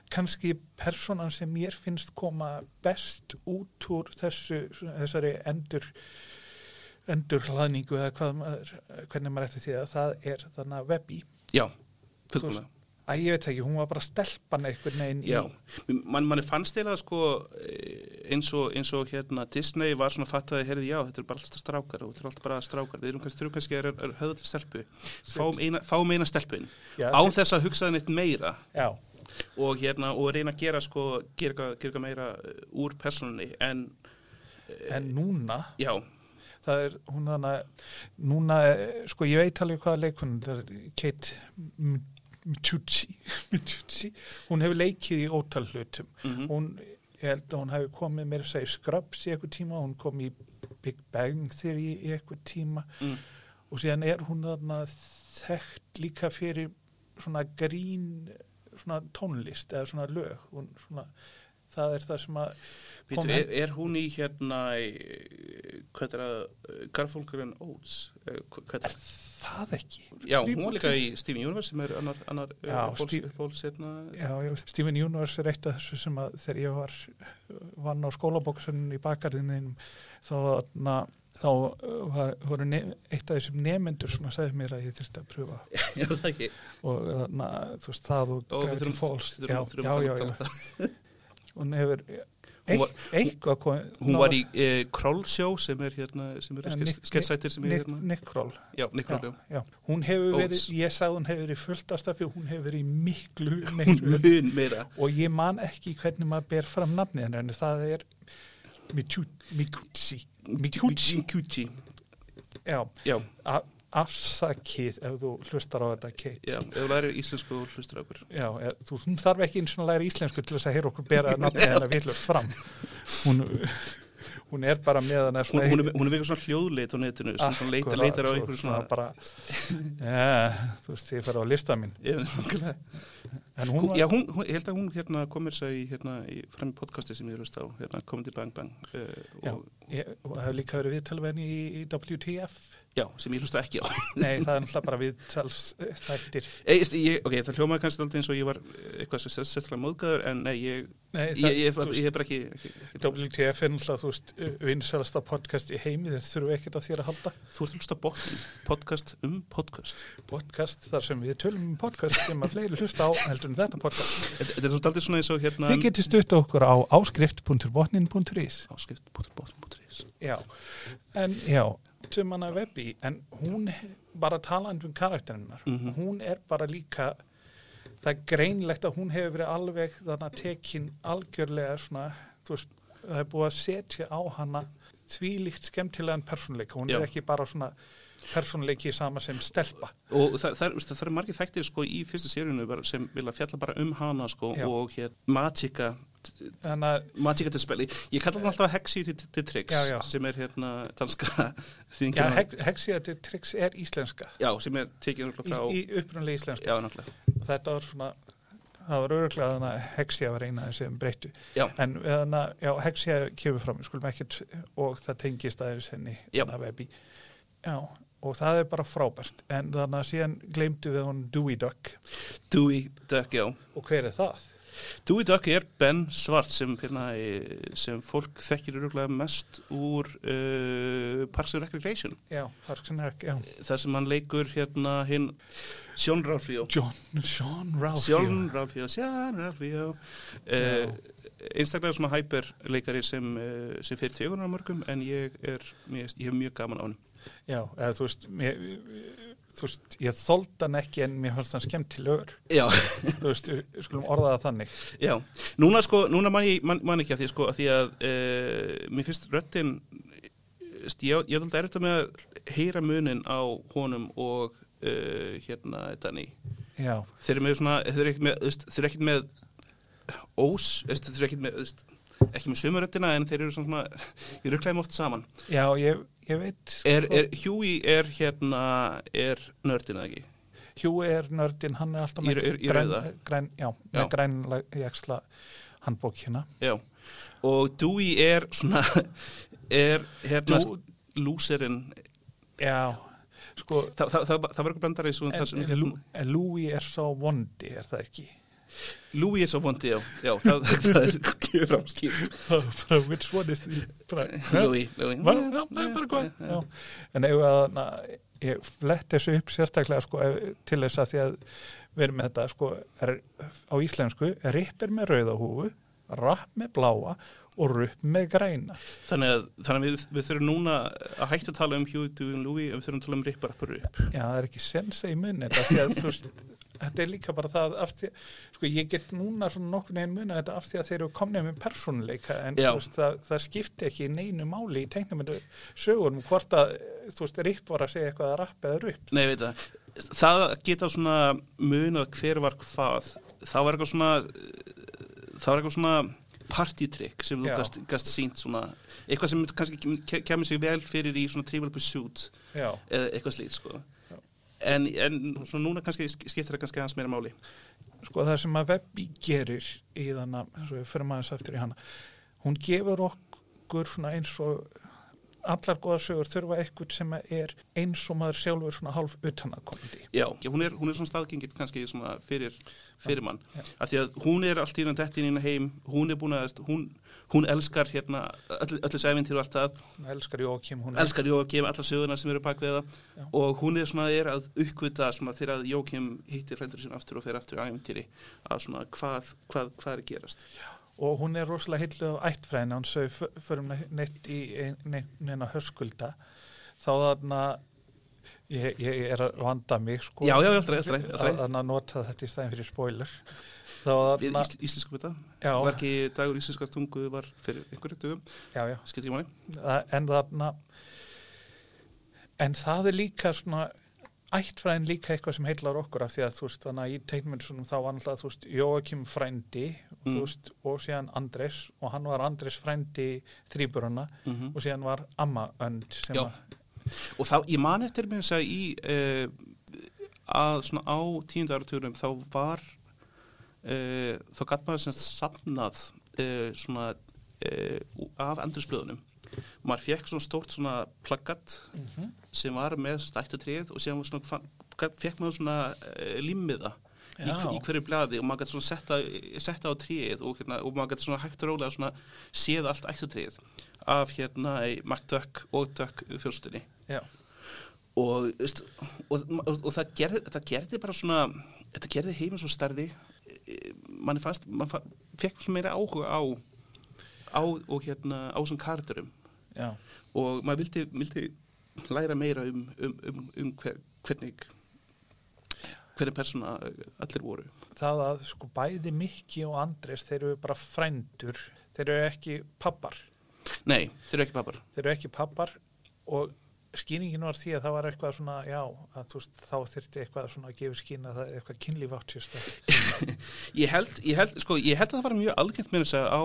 kannski personan sem mér finnst koma best út úr þessu, svona, þessari endur endur hlaðningu eða hvað maður, hvernig maður eftir því að það er þannig að Webby, já, fullkomlega að ég veit ekki, hún var bara stelpan einhvern veginn í, Já, man, mann fannst eiginlega sko eh, eins og, eins og hérna Disney var svona fattaði, heyrði já, þetta er bara alltaf strákar og þetta er alltaf bara strákar, við erum kannski þurfum kannski að höfða til stelpu, fáum eina, fáum eina stelpun, Já, án þeir- þess að hugsaði neitt meira já, og hérna og reyna að gera sko, gera, eitthvað- gera eitthvað meira eh, úr personunni en en núna já, það er hún þannig að núna, eh, sko ég veit alveg hvaða leikun það er Kate M- Michucci Michucci, hún hefur leikið í ótal hlutum, Mhm. hún ég held að hún hefur komið mér að segja Scrubs í eitthvað tíma, hún kom í Big Bang Theory í eitthvað tíma Mm. og síðan er hún þarna þekkt líka fyrir svona grín svona tónlist eða svona lög hún, svona, það er það sem að kom býtu, henni- er, er hún í hérna í, hvað er að Garfunkel and Oates eh, hva- hvað er það ekki Já, hún var líka í Steven Universe sem er annar, annar Já, Steve- uppbóls hérna Já, já, Steven Universe er eitt af þessu sem að þegar ég var vann á skólabóksunum í bakarðinum þá, na, þá uh, var, voru nef, eitt af þessum nefendur svona sagði mér að ég þurfti að pröfa Já, það ekki og na, þú veist það og Og við Gravity þurfum, Falls þurfum, já, þurfum já, að já, tala um já, það. já. hún hefur Hún var- eitt, eitthvað kom, Hún var í uh, Królsjó sem er hérna, sem eru Ja, skets- Nick- sketsætir sem er Nick, hérna Nick Kroll Já, Nick já, Królsjó já. hún hefur verið, Oates. ég sagði hún hefur verið fulltast af því hún hefur verið í miklu meiru Mun meira og ég man ekki hvernig maður ber fram nafnið hennar en það er Mikuchi Mikuchi Mikuchi já, Já, a- afsakið ef þú hlustar á þetta Kate já, ef þú lærir íslensku og hlustur á okkur Já, eða, þú hún þarf ekki eins og að læra íslensku til þess að heyra okkur bera nafnið hennar villur fram hún, hún er bara með hennar Hún, hún, er, hún er veikar svona hljóðleit á netinu Ah, sem svona leitar, leitar á einhverju svona bara, ja, þú veist, ég fer á lista mín Ég veit nákvæmlega. en hún var, Já, hún, hún, ég held að hún hérna komir sér í, hérna, í fram í podcasti sem ég hlust á hérna, Comedy Bang Bang uh, Já. ég, og það hefur líka verið viðtalvenni í, í WTF Já, sem ég hlusta ekki á. Nei, það er náttúrulega bara viðtalsþættir. Ég, ég, ok, það hljómaði kannski aldrei eins og ég var eh, eitthvað sem sett- settlega móðgæður, en nei, ég, Nei, ég, það- ég, ég, þú veist- ég er bara ekki, ekki, ekki WTF er náttúrulega, þú veist, vinsælasta podcast í heimi, þeir þurfu ekkert á þér að halda. Þú ert að hlusta bóttin, podcast um podcast. Podcast þar sem við tölum um podcast sem að fleiri hlusta á heldur en þetta podcast. Þetta þetta er svolítið aldrei svona eins og hérna... Þið getur stutt okkur á áskrift.botnin.is Áskipt, bóttin, bóttin, bóttin. Já, en já, sem hann að webbi, en hún he- bara talandi um karakterinnar, Mhm. hún er bara líka, það er greinlegt að hún hefur verið alveg þannig að tekin algjörlega svona, þú veist, það er búið að setja á hana þvílíkt skemmtilegan persónleika, hún Já. er ekki bara svona persónleiki sama sem stelpa. Og það, það, það, það er margir þættir sko í fyrstu seríunum bara- sem vilja fjalla bara um hana sko Já. og hér Matika, Þannig að, Matika til speli. Ég kalla það alltaf Hexi til, til Trix Já, já. sem er hérna danska já, þýðingin á- hex, hexiðatir triks er íslenska, Já, sem er tekið í, náttúrulega frá... í upprunlega íslenska. Já, náttúrulega. Þetta var svona, það var öruglega þannig að hexja var eina sem breyttu. Já. En þannig að, já, hexja kemur fram, við skulum ekkert, og það tengist aðeins henni, Já. þannig að webbi. Já, og það er bara frábært. En þannig að síðan gleymdu við hún Dewey Duck. Dewey Duck, já. Og hver er það? Dewey Duck er Ben Svart sem, hérna, eh, sem fólk þekkir öruglega mest úr uh, Parks and Recreation. Já, Parks and Rec, já. Þar sem hann leikur hérna hinn Sjón Ralfíó. John, Sean Ralphio. Sjón Ralfíó, Sjón Ralfíó. Uh, einstaklega svona hæper leikari sem, uh, sem fyrir tegunar á mörgum en ég er, ég, ég hef mjög gaman á hann. Já, eða þú veist, mér, þú veist, ég þóld hann ekki en mér fannst hann skemmtilegur. Já. þú veist, við skulum orða það þannig. Já, núna sko, núna man ég man, man ekki að því sko, að því að e, mér finnst röttin ég, ég held að er þetta með að heyra munin á honum og e, hérna, Danny Já, þeir eru með svona, þeir eru ekkert með þú veist, þeir eru ekkert með ós, þú veist, þeir eru ekkert með þú veist, ekki með sömuröttina en þeir eru svona, svona ég ruklaði mig oft saman já, ég, ég veit. er, sko- er, Huey er hérna er nördin eða ekki Hugh er nördin, hann er alltaf með Í- í- í græn, rauða. græn, já, Já. með græn jaksla handbók hérna. Já, og Dewey er svona, er hérna Dewey- lúserinn Já, sko, Þa, það, það, það var eitthvað blandar í svona en, það sem en, hérna, Lou- en Louis er sá vondi, er það ekki? Louis er svo vondi, já, já það, það er gefið fram skýrt. Bara, Which one is the... Bara, Louis, Louis. Var, já, það er bara góð. Já. En ef að, na, ég flett þessu upp sérstaklega sko, ef- til þess að því að við erum með þetta sko, er, á íslensku, ripp er með rauða húfu, rapp með bláa og rupp með græna. Þannig að, þannig að við, við þurfum núna að hætta að tala um Hugh Dewey og Louis og við þurfum að tala um Ripper Upper Rip. Já, það er ekki sensa í munni þetta, því að, þú veist, þetta er líka bara það af því, sko ég get núna svona nokkur neginn munna þetta af því að þeir eru komnið með persónuleika en Já. þú veist, það, það skipti ekki í neinu máli í teiknumindu sögunum hvort að þú veist, ripp var að segja eitthvað að rappa eða rupp Nei, ég veit það. Það geta svona munað hver var hvað. Það var eitthvað svona, það var eitthvað svona partytrykk sem þú Já. gast, gast sínt svona, eitthvað sem kannski kem- kemur sig vel fyrir í svona Trivial Pursuit Já, eða eitthvað slíkt, sko. Já. En, en svona núna kannski sk- skiptir það kannski hans meira máli. sko það sem að Webby gerir í þannig, eins og við fyrir maður aftur í hana, hún gefur okkur svona eins og allar góða sögur þurfa eitthvað sem að er eins og maður sjálfur svona hálf utanakomandi Já, hún er, hún er svona staðgengið kannski svona fyrir, fyrir mann Já. af því að hún er allt í hann dettin inn heim hún er búin að, hún, hún elskar hérna öll, öllu sæfintir og allt það hún elskar Jókim, hún elskar Jókim, alla söguna sem eru bak við það Já. og hún er svona er að uppkvita svona þegar að Jókim hittir frændur sinna aftur og fer aftur í æfintýri að svona hvað, hvað, hvað er að gerast og hún er rosalega hilluð af ættfræðina hún sögur f- förum ne- neitt í ein- ne- neina höskulda þá þarna ég, ég er að vanda mig sko Já, já, já, alltaf, alltaf, að- alltaf. að nota þetta í stæðin fyrir spoiler þá Við þarna ísl, íslensku byrta, Hérna- já, var ekki dagur íslenskar tungu var fyrir einhverju dögum, já, já, skilti ekki máli Þa- en þarna en það er líka svona ættfræðin líka eitthvað sem heillar okkur af því að þú veist þannig að í teikmyndsunum þá var alltaf þú veist Jóakim frændi mm. Mm. veist, og síðan Andres og hann var Andres frændi þrýburuna mm og síðan var Amma Önd sem Já. að, Og þá, ég man eftir mér að í uh, að svona á tíundu áratugurum þá eh, var uh, þá gatt maður semst safnað uh, svona eh, ú- af endursplugunum maður fekk svona stórt svona plaggat sem var með stættatrið og síðan var svona, fann, gat- fekk maður svona eh, limmiða í, Já. í hverju blaði og maður gæti svona setta, setta á tríið og, hérna, og maður gæti svona hægt og rólega svona séð allt ættatrið af hérna í Mark Duck og Duck fjölstunni Já. og, veist, og, og, og það, gerði, það gerði bara svona þetta gerði heiminn svo stærri mann fannst, mann fann, fekk svona meira áhuga á, á og hérna á þessum karakterum Já. og maður vildi, vildi læra meira um, um, um, um hver, hvernig hvernig persóna allir voru Það að sko bæði Mikki og Andrés þeir eru bara frændur þeir eru ekki pappar nei, þeir eru ekki pappar þeir eru ekki pappar og skýningin var því að það var eitthvað svona já, að þú veist, þá þyrfti eitthvað svona að gefa skýna það er eitthvað kynlíf átt sér stöð ég held, ég, held, sko, ég held að það var mjög algengt með þess að á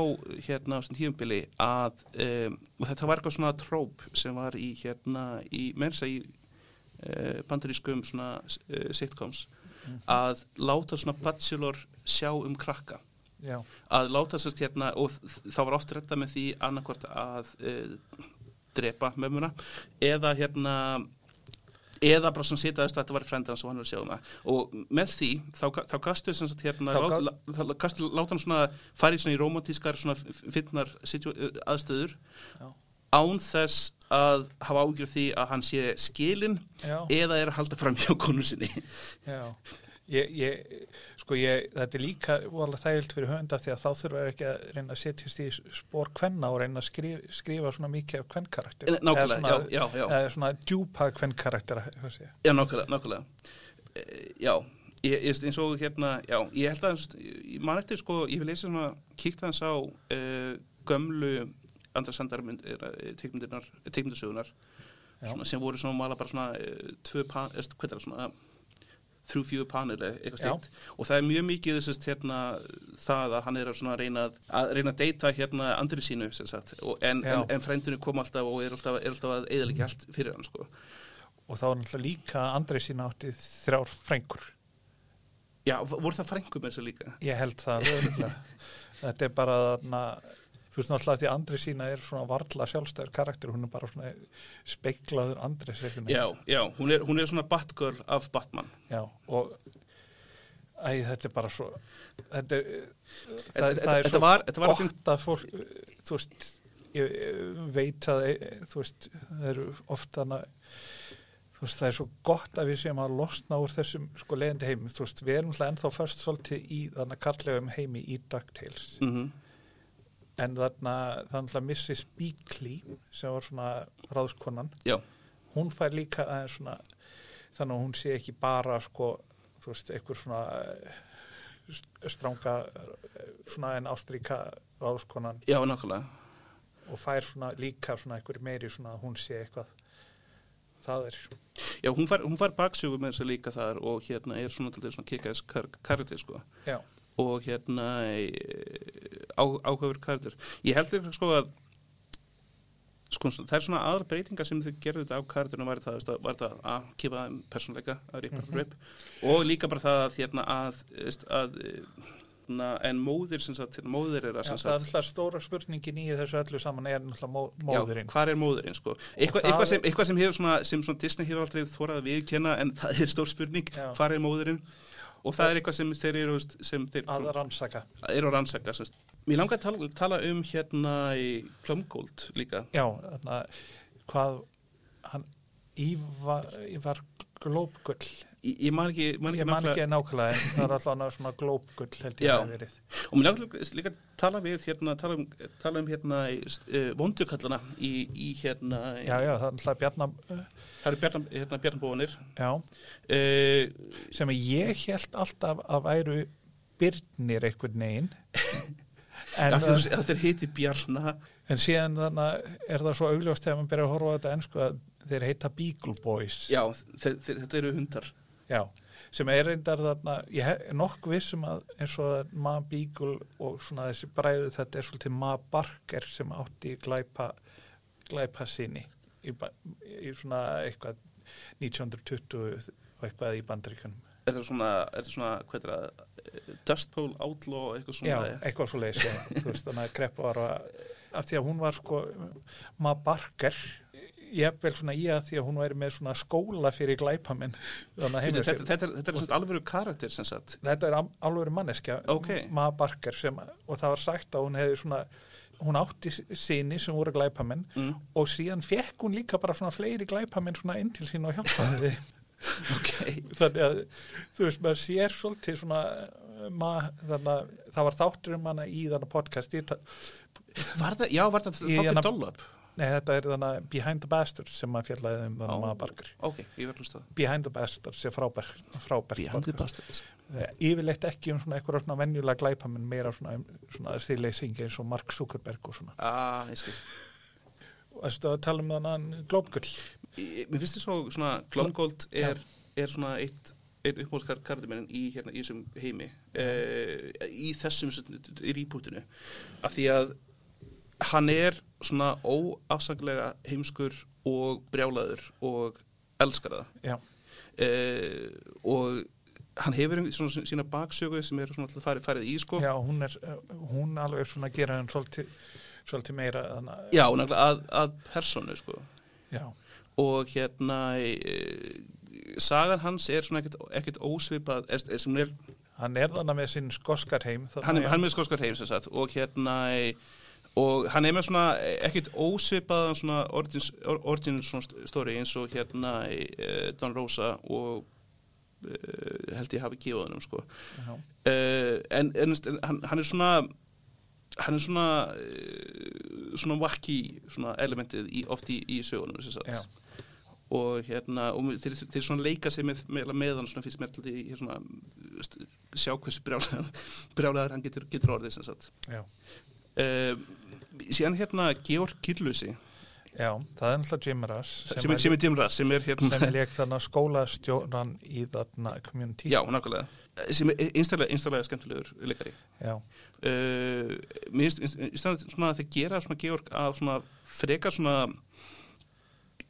hérna á þessum tíumbili að um, og þetta var eitthvað svona tróp sem var í hérna í með þess að í uh, bandarískum svona uh, sitcoms að láta svona bachelor sjá um krakka Já, að láta sérst hérna og þ- þá var oft redda með því annarkvort að e, drepa mömmuna eða hérna eða bara svona sitaðist að þetta var frendið hans og hann var að sjá um það og með því þá, ga- þá gastu sem sagt hérna Þá lát, gat- la, þá gastu láta hann svona fara í svona í romantískar svona finnar e, aðstöður já, án þess að hafa ágjur því að hann sé skilin já eða er að halda fram hjá konu sinni Já, ég, ég, sko ég, þetta er líka voðalega þægilt fyrir höfunda því að þá þurfa ekki að reyna að setjast í spór kvenna og reyna að skrif, skrifa svona mikið af kvennkarakter. nákvæmlega, Eða svona- já, já, já. Eða Eh, svona djúpað kvennkarakter, hvað sé ég. Já, nákvæmlega, nákvæmlega. E, já, ég, ég, eins og hérna, já, ég held að, ég man eftir sko, ég vil leysa svona, kíkta hans á e, gömlu andra eh, sandarmyndir, teikmyndirnar, teikmyndasögunar, Já. svona, sem voru svona, mala bara svona, e, tvö pan, eða hvað er það svona, þrjú fjögur panel eða eitthvað Já. stíkt og það er mjög mikið þessist hérna það að hann er að svona reyna að, að reyna að deyta hérna andri sínu sem sagt og, en, Já. en, en frændinu kom alltaf og er alltaf, er alltaf að eðalega allt fyrir hann sko Og þá er náttúrulega líka að Andri sína átti þrjár frængur. Já, voru það frængum þessu líka? Ég held það alveg örugglega. Þetta er bara þarna, þú veist náttúrulega því að Andri sína er svona varla sjálfstæður karakter, hún er bara svona speiklaður Andri sér. Já, já, hún er, hún er svona Batgirl af Batman. Já, og æ, þetta er bara svo þetta, er- það, þetta- það er þetta svo var- þetta var gott ekki- að fólk þú veist, ég ég veit að þú veist, það eru oft hana þú veist, það er svo gott að við séum að losna úr þessum sko leiðandi heimi, þú veist, við erum hlað ennþá först svolítið í þarna karlægum heimi í DuckTales Mm en þarna, þannig að Mrs. Beakley sem var svona ráðskonan Já, hún fær líka aðeins svona þannig að hún sé ekki bara sko, þú veist, einhver svona eh, st- stranga eh, svona en ástríka ráðskonan já, nákvæmlega. og fær svona líka svona einhver meiri svona að hún sé eitthvað það er, Já, hún fær, hún fær baksjögu með þessu líka þar og hérna er svona til svona kikkaðis karakter, sko. já, Og hérna e, á, áhöfur karakter. Ég held líka, sko, að sko, svona- það er svona aðra breytinga sem þau gerðu þetta á karakterinu var það, veist, að- var það að kipa þeim persónleika að ripa mm og líka bara það að, hérna, að, veist, að eh, na, en móðir, sem sagt, hérna, móðir er að, já sem það er sagt, alltaf stóra spurningin í þessu öllu saman er náttúrulega mó- móðurinn Já, hvar er móðurinn, sko? Eitthvað, það eitthvað, sem, er- eitthvað sem, hefur svona, sem svona Disney hefur aldrei þórað að viðkenna en það er stór spurning, Já. hvar er móðurinn? Og það er eitthvað sem þeir eru, veist, sem þeir að rannsaka eru að rannsaka. sem sagt. Mér langar að tala, tala um hérna í Plumgold líka. já, þannig að hvað hann Ívar, Ívar Glóbgull Ég, ég man ekki, man ekki ég man nákvæmlega- ekki nákvæmlega en það er alltaf svona Glóbgull held ég Já. að hafi verið Og mér langar til- líka að tala við hérna, tala um, tala um hérna í, uh, vondukallana í, í hérna, Já, já, það er náttúrulega Bjarnar, það eru Bjarn, hérna, Bjarnbóðanir. já, Uh, sem að ég held alltaf að væru byrnir einhvern veginn, en, það- það er heiti Bjarna. en síðan þannig er það svo augljóst þegar maður byrjar að horfa á þetta ennsku að þeir heita Beagle Boys, Já, þe- þe- þetta eru hundar. já, sem er reyndar þarna, ég er nokk vissum að eins og að Ma Beagle og svona þessi bræðu þetta er svolítið Ma Barker sem átti glæpa, glæpa sinni í, ba- í svona eitthvað 1920 og eitthvað í bandaríkunum. Er það svona, er það svona, hvað er það, eh, Dust Bowl Outlaw, eitthvað svona? Já, eitthvað svo leiðis, já, þú veist, þannig að kreppu var að af því að hún var sko maður barker ég hef vel svona í að því að hún væri með svona skóla fyrir glæpamenn þannig að Þetta, heimur þetta, þetta, er- þetta er svona alvöru karakter sem sagt. þetta er am- alvöru manneskja Ókei. maður barker sem og það var sagt að hún hefði svona hún átti sinni sem voru glæpamenn Mm. og síðan fekk hún líka bara svona fleiri glæpamenn svona inn til sín og hjálpaði þeim Ok. þannig að þú veist maður sér svolítið svona uh, ma, þannig að það var þáttur um hana í þannig podcast í, Var það, já, var það Í þáttir hana- dollop? nei þetta er þannig að Behind the Bastards sem maður fjallaði um þannig Ó. að maður barkur Ok, ég verður hlusta á það. Behind the Bastards er frábær, frábær Beyond the Bastards. Eh, yfirleitt ekki um svona eitthvað svona venjulega glæpamenn meira svona, um svona stíleysingi eins og Mark Zuckerberg og svona Ah, ég skil. og að tala um þannig glópgull Ég- Mér finnst þið svo svona Glomgold er, er svona eitt einn uppmálskar kardimennin í, hérna, í þessum heimi uh, í þessum sem sagt, í rýpútinu af því að hann er svona óafsanglega heimskur og brjálaður og elskar það já, uh, og hann hefur einhver- svona sína baksögu sem er svona alltaf farið, farið í sko já hún, er, eh, hún alveg er svona að gera hann svolítið, svolítið meira þannig að- Já, nefnilega að, að personu sko já, og hérna e, sagan hans er svona ekkert, ekkert ósvipað er, er, sem hún er, hann er þannig með sinn skoskarheim þarna, hann, er, já. hann er með skóskar heim sem sagt og hérna e, og hann er með svona e, ekkert ósvipaðan svona origins, or- origin svona st- story eins og hérna e, Don Rosa og e, held ég hafi gefið honum sko já. uh, en, en, en hann, hann er svona hann er svona uh, svona wacky svona elementið í, oft í, í sögunum sem Já. sagt og hérna, og mér- þeir, þeir svona leika sig með, með, með hann svona fyrst mér til því ég svona, st- sjá hversu brjálæðar brjálæðar hann getur, getur orðið sem sagt Já, uh, síðan hérna Georg Kirlusi já, það er náttúrulega Jim Russ sem, sem, er- sem er Dimra, sem er hérna sem er leik þannig að skólastjóran í þarna community já, nákvæmlega, sem er einstaklega, einstaklega skemmtilegur leikari já, uh, mér finnst- í staðan svona að þeir gera svona Georg að svona freka svona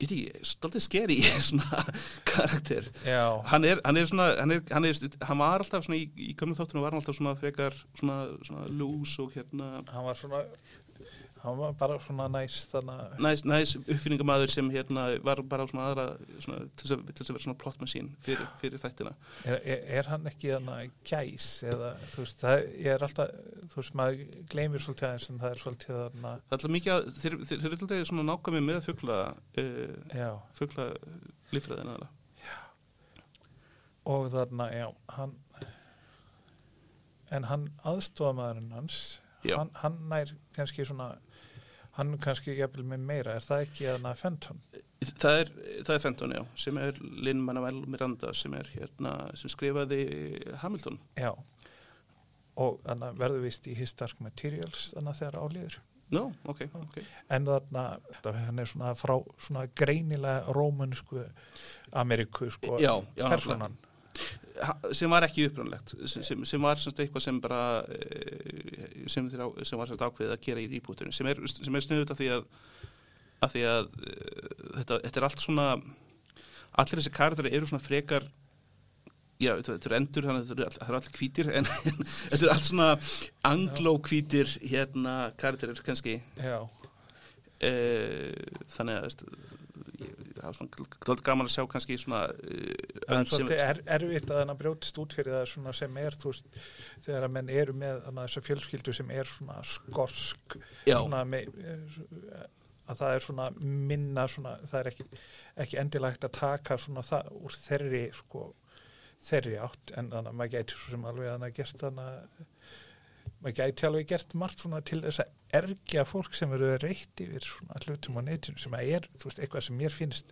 ég veit ekki, stoltið skeri svona karakter já, hann er, hann er svona hann, er, hann, er, hann var alltaf svona í, í gömlu þáttunum var hann alltaf svona frekar svona, svona lús og hérna hann var svona hann var bara svona næs þannig að næs, næs uppfinningamæður sem hérna var bara svona aðra svona, til þess að, til þess að vera svona plot machine fyrir, fyrir þættina er, er, er hann ekki þannig gæs eða þú veist, það ég er alltaf þú veist, maður gleymir svolítið aðeins en það er svolítið þarna, það er alltaf mikið að þeir, þeir, þeir eru alltaf svona nákvæmi með fugla uh, já fugla lífræðina þeirra og þarna, já, hann en hann aðstofamæðurinn hans Já. hann, hann nær kannski svona hann kannski jafnvel með meira er það ekki þarna Fenton Það er, það er Fenton, já, sem er Lin Manuel Miranda, sem er hérna, sem skrifaði Hamilton. já og þannig verður vist í His Dark Materials þannig að þegar álíður No, ok, ok. en þarna, hann er svona frá svona greinilega rómunsku Ameríku sko Já, já, persónan Ha, sem var ekki upprannlegt, sem, sem, sem var semst eitthvað sem bara, eh, sem, þeir á, sem var semst ákveðið að gera í rýbútunum, sem er, sem er sniðut af því að, af því að eh, þetta, þetta er allt svona, allir þessi karatari eru svona frekar, já, þetta þetta eru endur, þannig að þetta eru all- það eru allir hvítir, en þetta eru allt svona angló-hvítir, hérna, karatarir kannski, já, Eh, þannig að veist, ég- það var svona dálítið gaman að sjá kannski svona eh, en önd sem- svolítið er, erfitt að hann brjótist út fyrir það svona sem er þú veist, þegar að menn eru með þannig, þessa fjölskyldu sem er svona skorsk Já. svona með, eh, að það er svona minna svona, það er ekki, ekki endilegt að taka svona það úr þerri sko, þerri átt en þannig að maður gæti svo sem alveg þannig að gert þannig að maður gæti alveg gert margt svona til þess að ergja fólk sem eru reytt yfir svona hlutum á netinu sem að er, þú veist, eitthvað sem mér finnst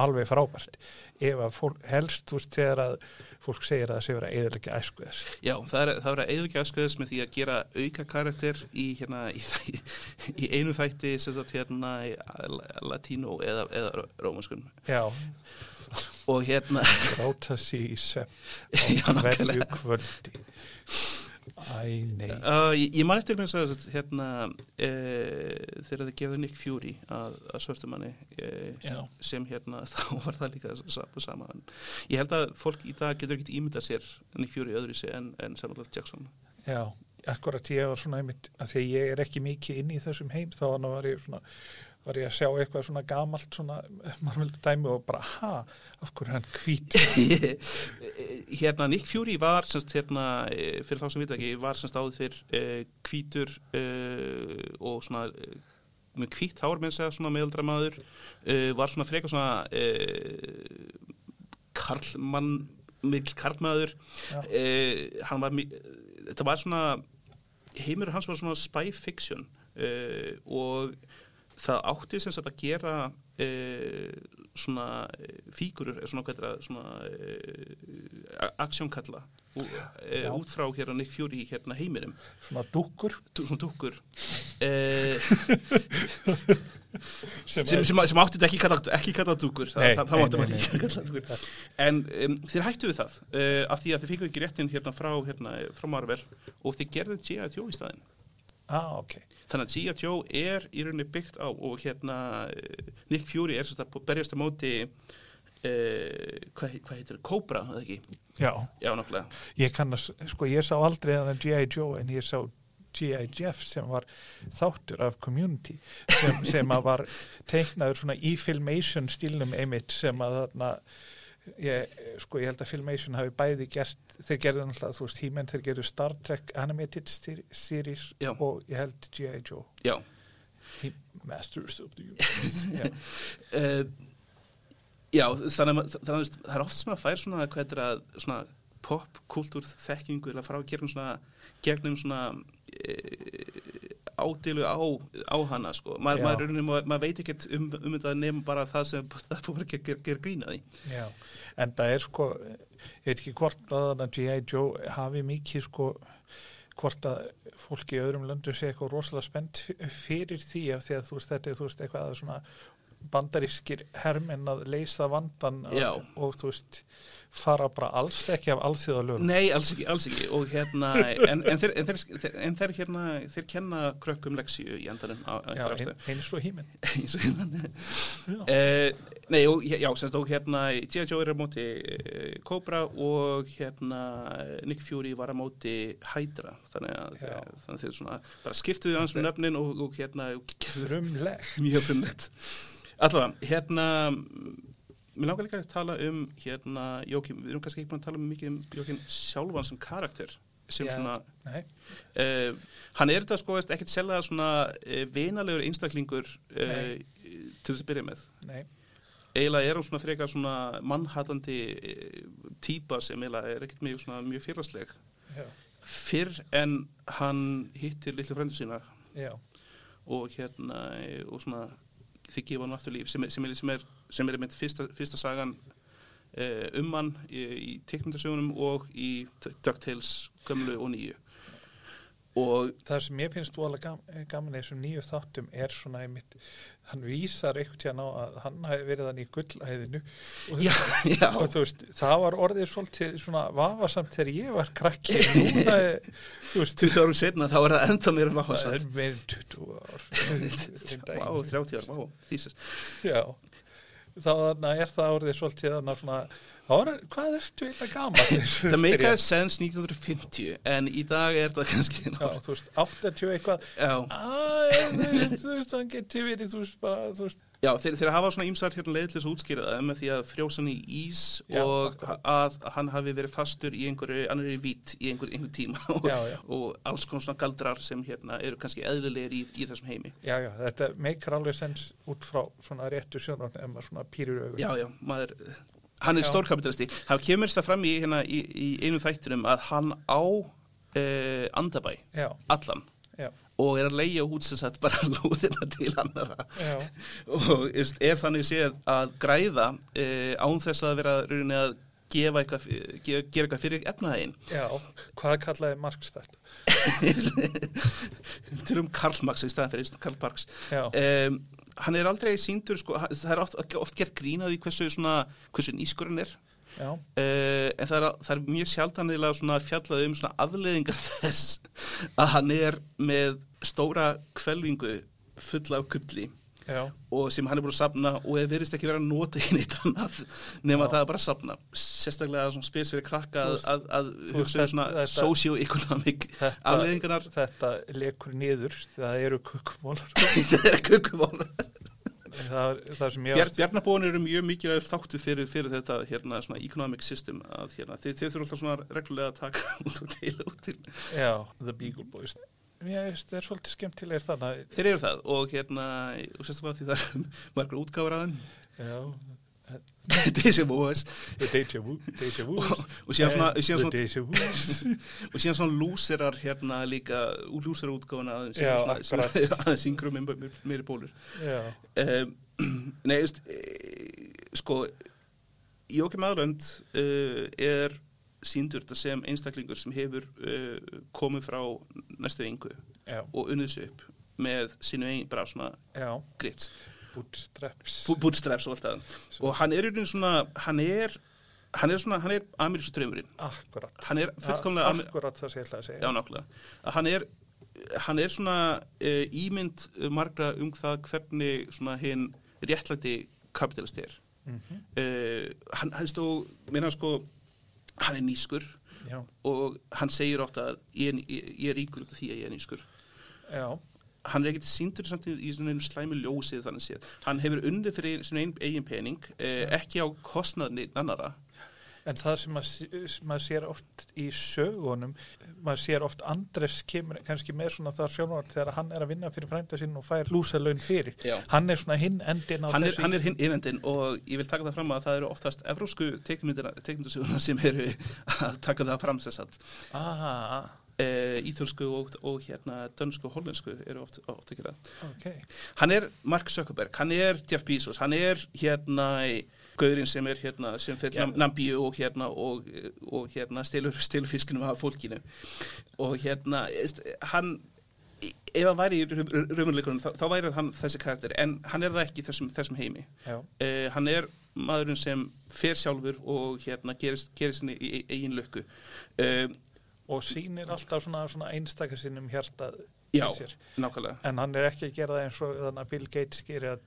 alveg frábært ef að fólk helst, þú veist, þegar að fólk segir að það sé verið að eðalega æsku þess Já, það er, það er að eðurkja aðsköðis með því að gera auka karakter í, hérna, í, þæ- í einu þætti sem sagt hérna í la- latínó eða, eða rómanskum Já, og hérna ráta sig í sem Já, á hverju nákvæmlega. kvöldi Æ, nei Uh, ég, ég man eftir með þess að hérna, uh, þegar þið gefðu Nick Fury að, að svörtumanni uh, Já. sem hérna þá var það líka sama, sama. En Ég held að fólk í dag getur ekkert ímyndað sér Nick Fury öðru sér en, en Samuel L. Jackson Já, akkurat ég var svona einmitt, að því ég er ekki mikið inn í þessum heim þá þannig var ég svona var ég að sjá eitthvað svona gamalt svona Marvel dæmi og bara ha af hverju er hann hvít hérna Nick Fury var semst, hérna, eh, fyrir þá sem við ekki var semst áður fyrr eh, hvítur eh, og svona eh, með hvít hár með segja svona meðaldramaður eh, var svona frekar svona eh, karlmann mikil karlmaður eh, hann var mi- þetta var svona heimur hans var svona spy fiction eh, og það átti sem sagt að gera eh, svona eh, fígurur, eh, svona hvað er það svona eh, aksjónkalla eh, Já. út frá hérna Nick Fury hérna heiminum svona dúkkur Dú- svona dukkur eh, sem, sem, sem, sem átti þetta ekki kallað, ekki kallað dúkur það, Nei, það, það nei, átti nei, þetta ekki kallað dúkur en um, þeir hættu við það uh, af því að þeir fengu ekki réttin hérna frá, hérna, frá Marvel og þeir gerðu G.I. Joe í staðinn ah, ok þannig að G.I. Joe er í rauninni byggt á og hérna eh, Nick Fury er sérst að berjast á móti uh, hvað, hei- hvað heitir það, Cobra eða ekki? já Já, nokkulega ég kannast sko ég sá aldrei að G.I. Joe en ég sá G.I. Jeff sem var þáttur af community sem, sem að var teiknaður svona í filmation stílnum einmitt sem að þarna ég, sko ég held að filmation hafi bæði gert þeir gerðu náttúrulega þú veist He-Man þeir gerðu Star Trek Animated Ser- Series Já. og ég held G.I. Joe Já, He Masters of the Universe Já. uh, já þannig, að ma- þannig að það er oft sem að fær svona hvað þetta er að svona popkultúr þekkingu eða frá gegnum svona gegnum svona e, ádeilu á, á hana sko. Ma, Já. maður, rauninni- maður, maður veit ekkert um, um þetta nema bara það sem það er búin að gera ger, ger grína því Já, en það er sko ég veit ekki hvort að þarna G.I. Joe hafi mikið sko hvort að fólki í öðrum löndum sé eitthvað rosalega spennt f- fyrir því af því að þú veist þetta er þú veist eitthvað að svona bandarískir herminn að leysa vandan Já. og, og þú veist fara bara alls ekki af alþjóðalögum Nei, alls ekki, alls ekki og hérna, en, en, þeir, en, þeir, en þeir hérna, þeir kenna krökkum leksíu í endanum á, á Já, einhverja ástæðu. ein, eins og híminn eins og hérna Eh, Nei, og, já, semst og hérna G.I. Joe er á móti eh, Cobra og hérna Nick Fury var á móti Hydra þannig að, Já. eh, þannig að þeir svona bara skiptuðu hans um nöfnin og, og hérna gerður Frumleg mjög frumlegt Allavega, hérna Mér langar líka að tala um hérna Jókim, við erum kannski ekki búin að tala um mikið um Jókim sjálfan sem karakter sem Já. svona Nei, uh, hann er þetta sko veist, ekkert selga svona uh, vinalegur einstaklingur uh, Nei. til þess að byrja með nei, eiginlega er hann svona frekar svona mannhattandi uh, típa sem eiginlega er ekkert mjög, svona, mjög félagsleg já, fyrr en hann hittir litlu frendur sína já og hérna eh, og svona þið gefa hann aftur líf sem, er- sem, er- sem er sem er mynd fyrsta, fyrsta sagan uh, um hann í, í teknindasögunum og í DuckTales gömlu og nýju og það sem ég finnst voðalega gam, eh, gaman í þessum nýju þáttum er svona einmitt, hann vísar einhvern tíðan á að hann hafi verið hann í gullæðinu og, já, já, og þú veist, það var orðið svolítið svona vafasamt þegar ég var krakki núna, er- þú veist 20 árum setna þá er það enda meira það váhasamt er meir 20 ár Þeim Vá, daginn. 30 ár, vá, þýsast Já, þá þarna er það orðið svolítið þarna svona, þá er, hvað ertu eiginlega gaman? Það meikaði sens 1950 en í dag er það kannski Já, þú veist, 80 eitthvað Já, Æ, þú veist, þú veist, hann getur verið, þú veist, bara, þú veist já þeir, þeir hafa svona ímsar hérna leið til þess að útskýra það með því að frjósan í ís Já, og akkurat. að hann hafi verið fastur í einhverju annari vít í einhver, einhver tíma og, Já, já. og alls konar svona galdrar sem hérna eru kannski eðlilegir í, í þessum heimi Já, já, þetta meikar alveg sens út frá svona réttu sjónarn ef maður svona pýrir augun. Já, já, maður hann er Já. stórkapitalisti, það kemur þetta fram í, hérna, í, í einum þættinum að hann á uh, andabæ Já, allan já, og er að leigja út sem sagt bara lóðina til annara já, og veist, er þannig séð að græða e, án þess að vera rauninni að gefa eitthvað, fyr- ge, gera eitthvað fyrir efnaðin já. Hvað kallaði Marx þetta? til um Karl Marx í staðan fyrir Karl Marx Já. um, hann er aldrei síndur sko, ha- það er oft, oft gert grínað í hversu, svona, hversu nýskurinn er Já, Uh, en það er, það er mjög sjaldanlega svona fjallað um svona afleðingar þess að hann er með stóra kvelvingu fulla af gulli já, og sem hann er búin að safna og það verðist ekki vera að nota í neitt annað nema það er bara að safna sérstaklega svona spils fyrir krakka Þú að, veist- að, að þú veist hugsa um svona þetta- socio-economic Þetta- afleðingarnar þetta lekur niður það eru kukkumólar það er kökumál það, það sem ég Bjar, Bjarnabóin eru mjög mikilvæg þáttu fyrir, fyrir þetta hérna, svona economic system að hérna, þeir, þeir þurfa alltaf svona reglulega að taka út og deila út til Já, The Beagle Boys Mér veist, það er svolítið skemmtilegir þannig þeir eru það og hérna og sérstaklega því það er margur útgáfur að Já, þeim þessi móas The Deja Vu Deja Vu Eh, Og- og síðan svona- síðan svona- The Deja Vu og síðan svona lúserar hérna líka lúserar útgáfuna aðeins sem Já, er svona- akkurat. sem- aðeins yngrum meiri bólur Já, um, Nei, þú veist eh, sko Jókim Aðlönd uh, er síndur þetta sem einstaklingur sem hefur uh, komið frá næstu yngu já, og unnið sér upp með sínu einn bara svona já grits Bootstraps bú- bootstraps og allt það og hann er í raun svona hann er, hann er svona, hann er amerísku draumurinn Akkurat Hann er fullkomlega- Ak- Akkurat það sem ég ætla að segja Já, nákvæmlega. Að Hann er, hann er svona uh, ímynd eh, margra um það hvernig svona hinn réttlæti kapitalist er. Mm Mhm. hann, hann stó, minna sko, hann er nýskur Já, og hann segir ofta að ég, er- ég, ég er ríkur út af því að ég er nýskur. já, Hann er ekkert síndur samt í, í svona einu slæmi ljósið þannig séð. Hann hefur undið fyrir svona ein, eigin pening, uh, ekki á kostnaðinni annara. en það sem maður sé- sem maður sér oft í sögunum maður sér oft Andres kemur kannski með svona það sjónvart þegar hann er að vinna fyrir frænda sinn og fær lúsalaun fyrir Já. hann er svona hinn endin á hann er, þessu hann er hinn innendin og ég vil taka það fram að það eru oftast evrósku teknundasögunar sem eru að taka það fram sér satt. Ah, E, ítölsku og, og hérna dönsku og hollensku eru oft, oft ekki það. ok Hann er Mark Zuckerberg, hann er Jeff Bezos, hann er hérna í- gaurinn sem er hérna, sem fyrir yeah. Nambíu og hérna og, og hérna stelur, stelur fiskinum af fólkinu og hérna eist- hann ef hann væri í raunveruleikunum þá, þá væri hann þessi karakter en hann er það ekki í þessum, þessum heimi Já, uh, hann er maðurinn sem fer sjálfur og hérna gerist, gerist sinni í í eigin lukku uh, og sýnir alltaf svona, svona einstakar sinnum hjartað í já, sér. nákvæmlega En hann er ekki að gera það eins og þannig að Bill Gates gerir að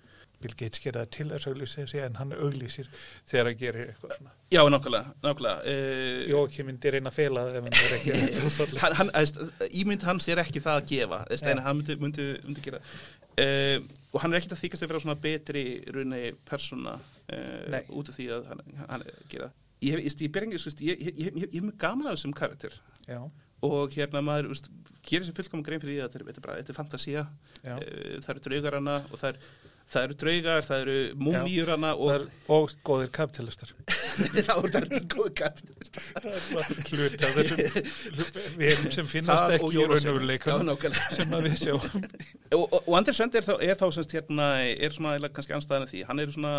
Bill Gates gerir það til þess að auglýsa sér en hann auglýsir þegar að gera eitthvað svona. já, nákvæmlega, nákvæmlega uh, Jóki myndi reyna að fela það ef hann er ekki að gera það. hann, hann, eðst, ímynd hans er ekki það að gefa eðst, Já. en hann myndi, myndi, myndi gera uh, og hann er ekkert að þykast að vera svona betri raunni persóna uh, Nei. út af því að hann, hann gera ég, ég, ég, ber engu- þú veist, ég, ég, ég, ég, ég hef mjög gaman af þessum karakter Já, og hérna maður veist, gerir sem fullkomum grein fyrir því að þetta er- þetta er bara, þetta er fantasía Já. Eh, það eru draugar hana og það, er, það eru draugar, það eru múmíur hana og, og er, og góðir kapitalistar. þá er það ekki góð kapitalist Það er bara hluti af þessum velum sem finnast Það og ekki í Eurovision. Já, raunuruleikunum nákvæmlega. sem að við sjáum. og, og, og Anders Svend er þá, er þá semst, hérna, er svona eiginlega kannski anstæðan af því hann er svona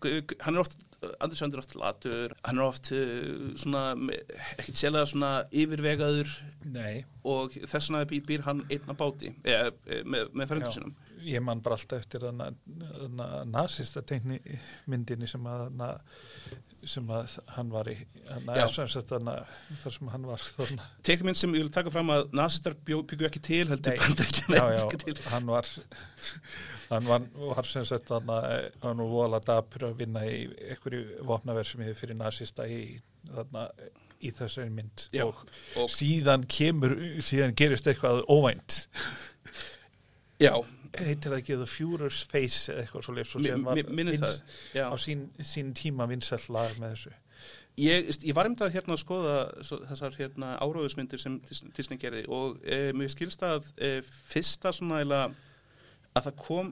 gu- gu- hann er oft, Anders Svend er oft latur hann er oft uh, svona me- ekkert sérlega svona yfirvegaður Nei, og þess vegna býr, býr hann einn á báti eh, eh, með, með Já. ferðum sinum ég man bara alltaf eftir þannig að nazista tegni myndinni sem að hana, sem að hann var í hana, Já. sem sagt, hana, þar sem hann var þarna, Tekmynd sem ég vil taka fram að nazistar byggju ekki til heldur Nei. bandaríkjana já, já, bjuggu til. hann var hann var, var sem sagt hana, hann var vola dapur að vinna í einhverju vopnaversmiði fyrir nazista í, þarna, í þessari mynd Já, og og- síðan kemur síðan gerist eitthvað óvænt Já, heitir það ekki The Furious Face eða eitthvað svo leif svo Mi- sem var mi- minnir það, já. á sín, sín tíma vinsall lag með þessu ég, ég var um það hérna að skoða svo, þessar hérna áróðusmyndir sem Dis- Disney gerði og e, mér skilst að e, fyrsta svona eila að það kom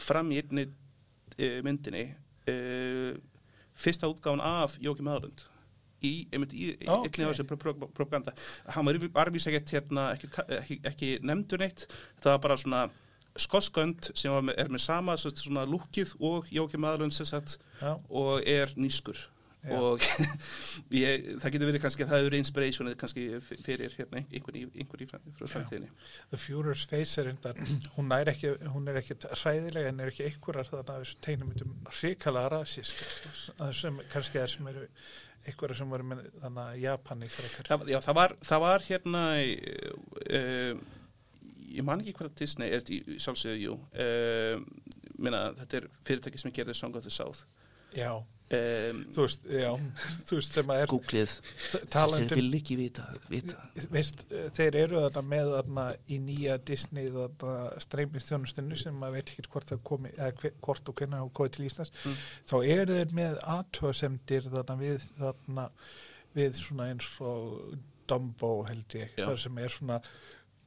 fram í einni e, myndinni e, fyrsta útgáfan af Jóki Maðurlund í, einmitt í, í Ó, einni af ok. þessu pro- pro- propaganda hann var arvís ekkert hérna ekki, ekki, ekki nefndur neitt það var bara svona skoskönd sem var með, er með sama sem sagt, svona lúkið og Jóki Maðurlund sem sagt Já. og er nýskur Já. og ég, það getur verið kannski að það eru inspirationið kannski fyrir hérna einhvern í, einhvern í fram, frá framtíðinni The Furious Face er enda hún er ekki, hún er ekki hræðilega en er ekki einhverjar þannig að þessum tegnumyndum hrikalega rasískar sem kannski er sem eru einhverjar sem voru með þannig að Japani frekar. það, já, það, var, það var hérna eh, uh, ég man ekki hvað Disney er, í- í sjálfsögðu, jú uh, minna, þetta er fyrirtæki sem gerði Song of the South já, um, þú veist, já, þú veist sem að er Googlið, talandi þeir vil ekki vita, vita. veist, þeir eru þarna með þarna í nýja Disney þarna streymistjónustinu sem maður veit ekki hvort það komi, eða hve- hvort og hvernig það komið til Íslands, Mm. þá eru þeir með aðtöðsemdir þarna við þarna við svona eins og Dumbo held ég, Já. þar sem er svona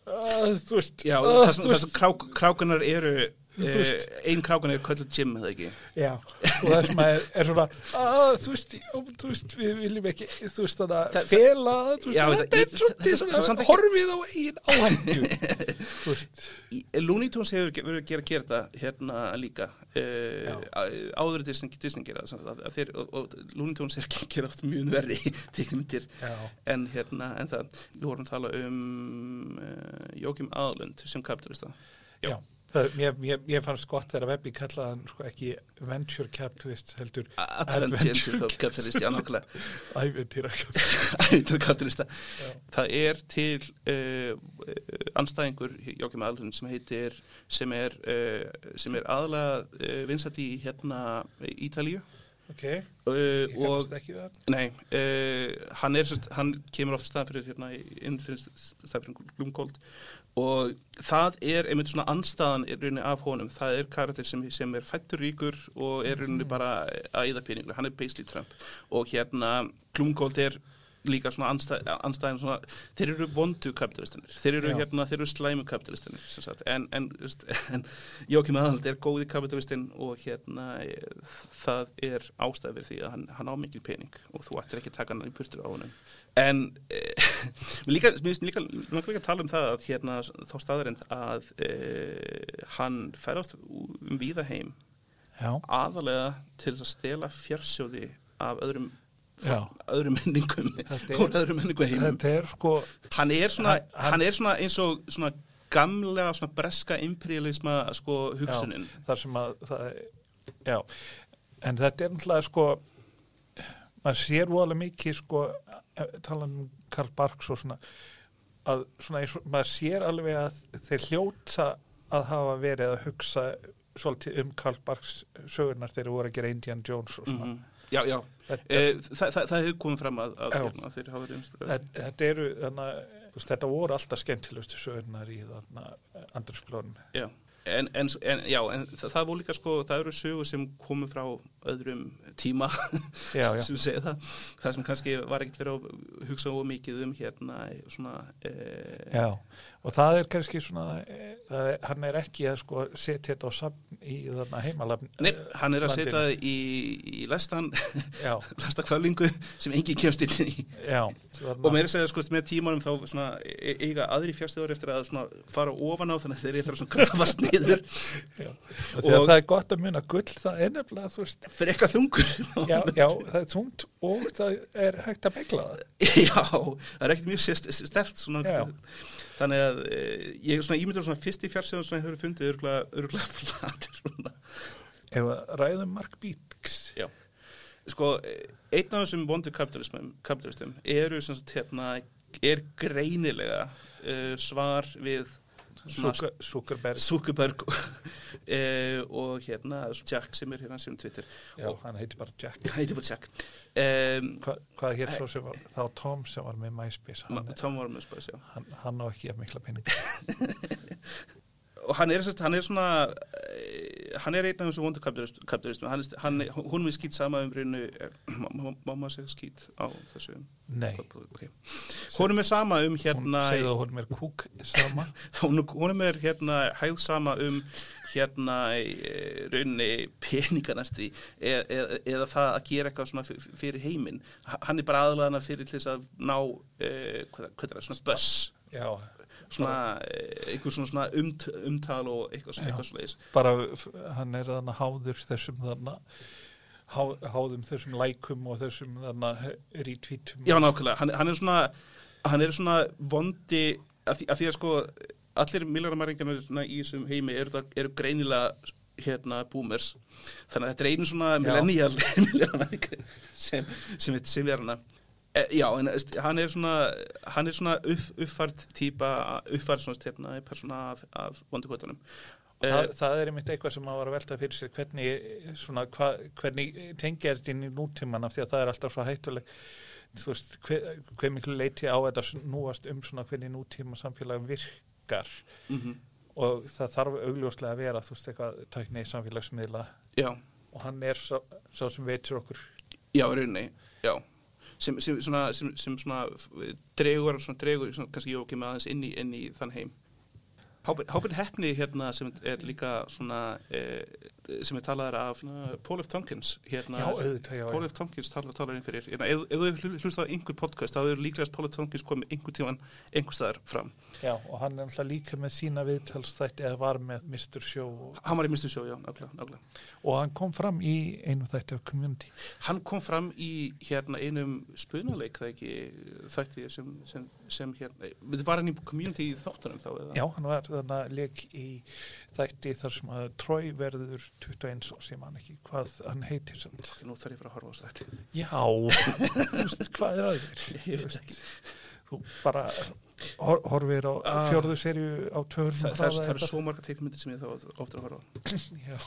Uh, þú veist, Já, ah, þess þú að krák, krákunar eru Þú eh, veist. ein krákunar er kölluð Jim, eða ekki Já, og það sem að er, er svona að, þú veist, já, þú veist, við viljum ekki, þú veist, þannig Það- að fela, þú veist, Já, þetta ég- er svolítið þetta- þetta er samt svona, ekki- horfið á eigin áhændu, þú veist, Í- eh, Looney Tunes hefur ge- verið að gera, gera þetta hérna líka uh, áður en Disney, Disney gera það sem sagt, að, að þeir, og, og Looney Tunes er að gera oft mjög verri tekmyndir já, en hérna, en það, við vorum að tala um uh, Jókim Aðlund sem kapitalista Já. já. Það, mér, mér, mér fannst gott þegar Webby kallaði hann sko ekki venture capitalist heldur Adventure kapitalist, já nákvæmlega æfintýra Ætlar kapitalista Já. Það er til uh, anstæðingur Jókim Aðlund sem heitir sem er, uh, sem er aðlega uh, vinsat í hérna Ítalíu ok, ég uh, og kannast ekki við hann Nei, uh, hann er sérst, hann kemur ofta staðan fyrir hérna í- inn fyrir staðan fyrir Glumgold og það er einmitt svona anstaðan er rauninni af honum, það er karakter sem, sem er fættur ríkur og er rauninni bara að eða peningur, hann er basically Trump og hérna Glumgold er líka svona anstæð, anstæðan svona, þeir eru vondu kapitalistinir, þeir eru Já. hérna, þeir eru slæmu kapitalistinir sem sagt. en, en, just, en Jókim Aðald er góði kapitalistinn og hérna eh, það er ástæð fyrir því að hann, hann á mikil pening og þú ættir ekki að taka hann í burtur á honum en eh, mér líka, mér finnst líka, mér langar líka að tala um það að hérna þá staðarind að eh, hann ferðast um víða heim já, aðalega til þess að stela fjársjóði af öðrum Já. öðrum menningum Þetta er- úr öðrum menningum heimum þetta er sko hann er svona, Hann- hann, hann- er svona eins og svona gamlega svona breska imperialisma sko hugsunin já, þar sem að það, já, en þetta er náttúrulega sko maður sér voðalega mikið sko talan um Karl Barks og svona að svona eins og maður sér alveg að þeir hljóta að hafa verið að hugsa svolítið um Karl Barks sögurnar þeir voru að gera Indian Jones og svona Mhm. já, já. þetta, Eh, Þa, það, það hefur komið fram að, að Já. hérna, þeir hafa verið umspyrðið. þetta, þetta eru þannig að þú veist, þetta voru alltaf skemmtilegustu sögurnar í þarna Andris Blónum Já, en, en, en, já, en það, það voru líka sko, það eru sögur sem komu frá öðrum tíma já, já, sem segja það, það sem kannski var ekkert verið að hugsa of mikið um hérna svona eh, Já, og það er kannski svona, eh, það er, hann er ekki að sko setja þetta á safn í þarna heimalafn. Nei, hann er að Landinu. setja það í, í lestan, Já, lestakvælingu sem engin kemst inn í já. Þarna, og meira að segja sko með tímanum þá svona, e- eiga aðri fjárstjóður eftir að svona fara ofan á þannig að þeir eru eftir að svona grafast niður já. Og þegar og- það er gott að muna gull, það er nefnilega, þú veist, fyrir eitthvað þungur já, já, það er tungt og það er hægt að megla það. Já, það er ekkert mjög sérst- stert svona, Já. þannig að e, ég er svona ímyndur svona fyrst í fjársjóðum sem ég hefur fundið örgulega, örgulega flatir svona. Ef að ræðum Mark Bíks, Já. Sko, eh, einn af þessum vondu kapitalismum, kapitalistum eru sem sagt hérna, er greinilega uh, svar við svona Zucker- Zuckerberg, Zuckerberg uh, og hérna Jack sem er hérna sem Twitter já, og hann heitir bara Jack. hann heitir bara Jack um, Hva, hvað hétt svo sem var, þá Tom sem var með MySpace, hann, Tom Warmers bara sjá hann, hann á ekki að mikla pening. og hann er, sérst, hann er svona eh, hann er einn af þessum vondukapitalistum hann, er- hann, hún er skýt sama um reynu mamma segir skýt á þessu Nei, okay. hún er sama um hún hérna segði að hún er kúk sama. hún, hún er hérna hæg sama um hérna raunni peninganasti e, e, eða það að gera eitthvað svona f- f- fyrir heiminn H- hann er bara aðlaðana fyrir til þess að ná e, hvað, hvað er það, svona buss Já, svona, eh, einhver svona, svona umt, umtal og eitthvað, Já. eitthvað svoleiðis bara f- hann er þarna háður þessum þarna há, háðum þessum lækum og þessum þarna retweetum Já, nákvæmlega, hann, hann er svona hann er svona vondi af því, af því að sko allir milljaramaringarnir í þessum heimi eru, það, eru greinilega hérna boomers þannig að þetta er einu svona millennial milljaramaringar sem, sem, sem er hana e, Já, en veist, hann er svona hann er svona upp, uppfært típa uppfært svona hérna persóna af, af vondukvötunum Það, það er einmitt eitthvað sem maður var að velta fyrir sér hvernig, svona, hva, hvernig tengja þetta inn í nútíman af því að það er alltaf svo hættuleg þú veist, hver, hver miklu leiti á þetta snúast um svona hvernig nútíma samfélag virkar Mhm. og það þarf augljóslega að vera þú veist eitthvað tækni samfélagsmiðla já, og hann er sá, sá sem veitur okkur já, í rauninni, já. Sem, sem, svona, sem, sem svona f- dregur, svona dregur, svona, kannski ég kemur aðeins inn í, inn í þann heim. Hápin, hápin hefni hérna sem er líka svona, eh, sem er talaðar af svona, Paul F. Tompkins hérna, Já, auðvitað, já, Paul já. F. Tompkins talar, talar inn fyrir hérna, ef, ef þú hlustað á einhver podcast þá er líklegast Paul F. Tompkins komið einhver tíman einhver staðar fram Já, og hann er alltaf líka með sína viðtalsþætti eða var með Mr. Show og, hann var í Mr. Show, já, nákvæmlega, nákvæmlega og hann kom fram í einu þætti af community Hann kom fram í hérna einum spunaleik það ekki uh, þætti sem, sem, sem hérna, var hann í community í þáttunum þá eða? Já, hann var þannig að leik í þætti þar sem að Troy verður 21 og sem hann ekki hvað hann heitir samt. Ok, Nú þarf ég að fara að horfa á þetta. Já, þú veist, hvað er að þér? Ég veist ekki. Þú bara hor horfir á Ah. fjörðu serju á törnum. Það, það, er- það eru svo marga teikmyndir sem ég þá ofta að horfa á. Já,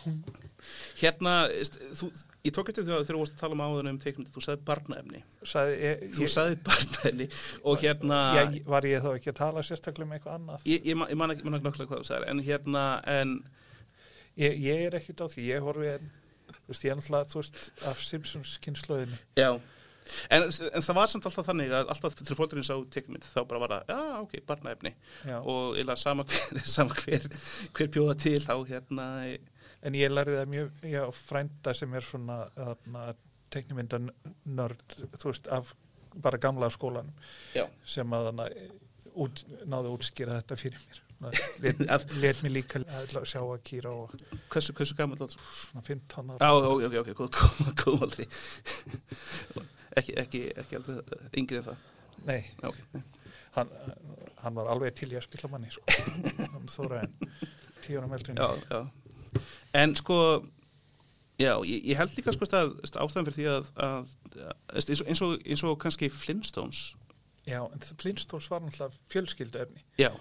Hérna, veist, þú, ég tók eftir því að þegar þú varst að tala um áðunum um teikmyndir, þú sagði barnaefni. sagði ég, Þú ég, sagði barnaefni og hérna... ég, var ég þá ekki að tala sérstaklega um eitthvað annað? Ég, ég, man- ég man ekki, man ekki nákvæmlega hvað þú sagðir, en hérna, en, Ég, ég er ekkit á því, ég horfi en, þú veist, ég er náttúrulega, þú veist, af Simpsons kynnslóðinni. já, en, en það var samt alltaf þannig að alltaf þegar fólkurinn sá teikmynd þá bara var það, já, ok, barnaefni. Já. og eiginlega sama, hver- sama hver, hver bjóða til þá hérna e, En ég lærði það mjög já, frænda sem er svona þarna, teknimyndan nörd, þú veist, af bara gamla skólanum já, sem að hana, út, náðu að útskýra þetta fyrir mér. Let, let mér líka að sjá að kýra og hversu, hversu gammal átt svona 15 ára. Já, já, ok, ok, ok, góð- góð góð aldrei ekki, ekki, ekki aldrei eh, yngri en það Nei, Já, ok, nei. hann, hann var alveg til í að spilla manni, sko. Hann þóra en tíu ára meldurinn. já, já en sko já, ég, ég held líka sko að ástæðan fyrir því að, að, að eins, og, eins, og, eins og kannski Flintstones já, en Blindstóns var náttúrulega fjölskylduefni. já,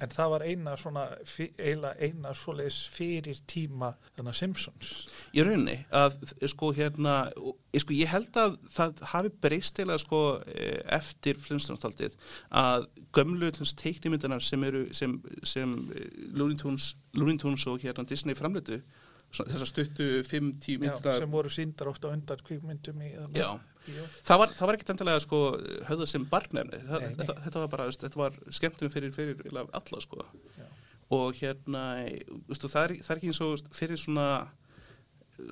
En það var eina svona, fi- eiginlega eina svoleiðis fyrir tíma þannig Simpsons. í rauninni að sko hérna, og- ég, sko, ég held að það hafi breyst eða sko eh, eftir Flintstones-taldið að gömlu tlans, teiknimyndunar sem eru sem, sem eh, Looney Tunes, Looney Tunes og hérna Disney framleitu svona þessar stuttu 5-10 Já, myndunar sem voru síndar ótt á undan kvikmyndum í þarna Já. bíó. Það var, það var ekkert endilega sko höfða sem barnefni, það, Nei, nei. Þetta, þetta var bara, veist, þetta var skemmtum fyrir, fyrir eiginlega alla sko Já. og hérna, veistu, það, er, það er ekki eins og veist, fyrir svona,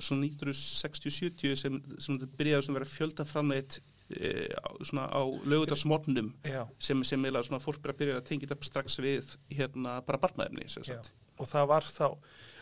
svona 1960-70 sem, sem þetta byrjaði svona að vera fjöldaframleitt e, svona á lögutarsmornum Já, sem, sem eiginlega svona fólk bara byrjaði að tengja þetta strax við hérna bara barnaefni sem já. sagt. Og það var þá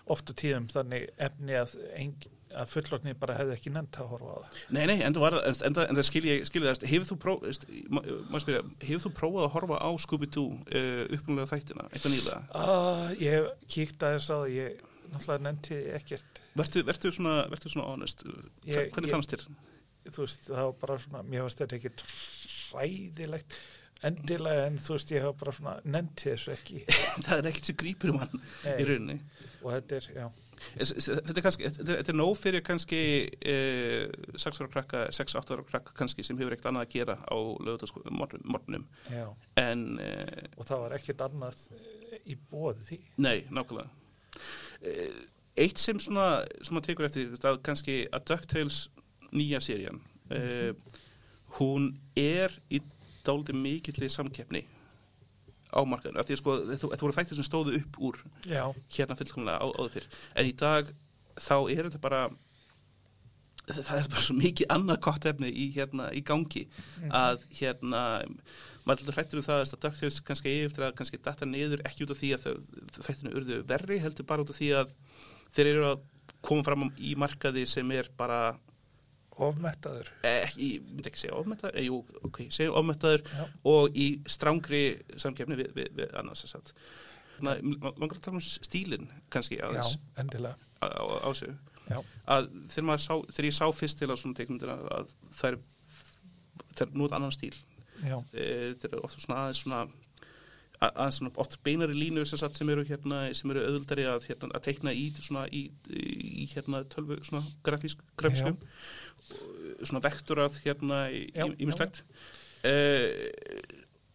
oft og tíðum þannig efni að, eng- að fullorðni bara hefði ekki nefnt að horfa á það. Nei, nei, enda var það, enda, enda skil ég, skil ég það, hefur þú prófað, maður spyrja, hefur þú prófað að horfa á Scooby-Doo uh, uppnulega þættina, eitthvað nýlega? Ah, ég hef kíkt aðeins á það, ég náttúrulega nefndi ekkert, Vertu, vertu, svona, vertu svona honest, Ég- hvernig ég- fannst þér? þú veist, það var bara svona, mér varst þetta ekkert ræðilegt endilega en þú veist, ég hef bara svona nefndi þessu ekki það er ekkert sem grípur mann Nei. í rauninni. og þetta er, já, Es- es- Þetta er kannski, þetta er- þetta er nóg fyrir kannski uh, 6 ára krakka, 6-8 ára krakka kannski sem hefur ekkert annað að gera á lögutasmornum, já. en... Uh, Og það var ekkert annað eh, í bóði. Nei, nákvæmlega. Eh, Eitt sem svona, sem maður tekur eftir, því, það er kannski að DuckTales nýja serían, uh, hún er í dáldi mikilli samkeppni á markaðinu. Af Því að sko, þetta þetta voru þættir sem stóðu upp úr Já, hérna fullkomlega á, áður fyrr. En í dag þá er þetta bara, það er bara svo mikið annað gott efni í, hérna, í gangi Mhm. að hérna, maður heldur hrættur um það að DuckTales kannski eigi eftir að kannski datta niður ekki út af því að þau þættinu urðu verri heldur bara út af því að þeir eru að koma fram í markaði sem er bara e, ofmettaður. ekki, ég myndi ekki segja ofmettaður, eh, jú, ok, segja ofmettaður Já. og í strangri samkefni við, við, við annars þess að. Langar að tala um stílinn kannski Já, aðeins endilega. á, á, á sig. Já. Að þegar, maður sá, þegar ég sá fyrst til á svona teikmyndina að það er, það er nút annan stíl. Já, Eh, Þetta er ofta svona aðeins svona a- aðeins svona oft beinari línu sem, sagt, sem eru hérna, sem eru auðvildari að, hérna, að teikna í, svona, í, í hérna tölvu, svona grafísk grafískum, svona vektorað hérna í, Já, í, í mislegt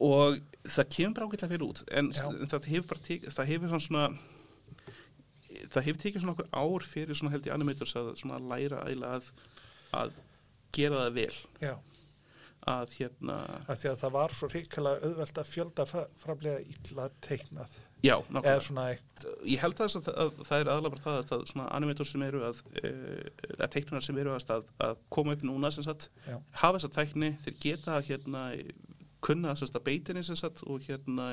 og það kemur bara ágætlega fyrir út en Já. en það hefur bara tekið, það hefur svona, svona það hefur tekið svona okkur ár fyrir svona held í animators að svona læra eiginlega að, að gera það vel já, að hérna, af því að það var svo ríkilega auðvelt að fjölda framlega illa teiknað já, eða nákvæmlega svona, ég held þess að það, að það er aðlega bara það að það svona animator sem eru að eh, eða teiknunar sem eru að, að, að koma upp núna sem sagt, Já. hafa þessa tækni þeir geta að hérna kunna sem sagt að beitinni sem sagt og hérna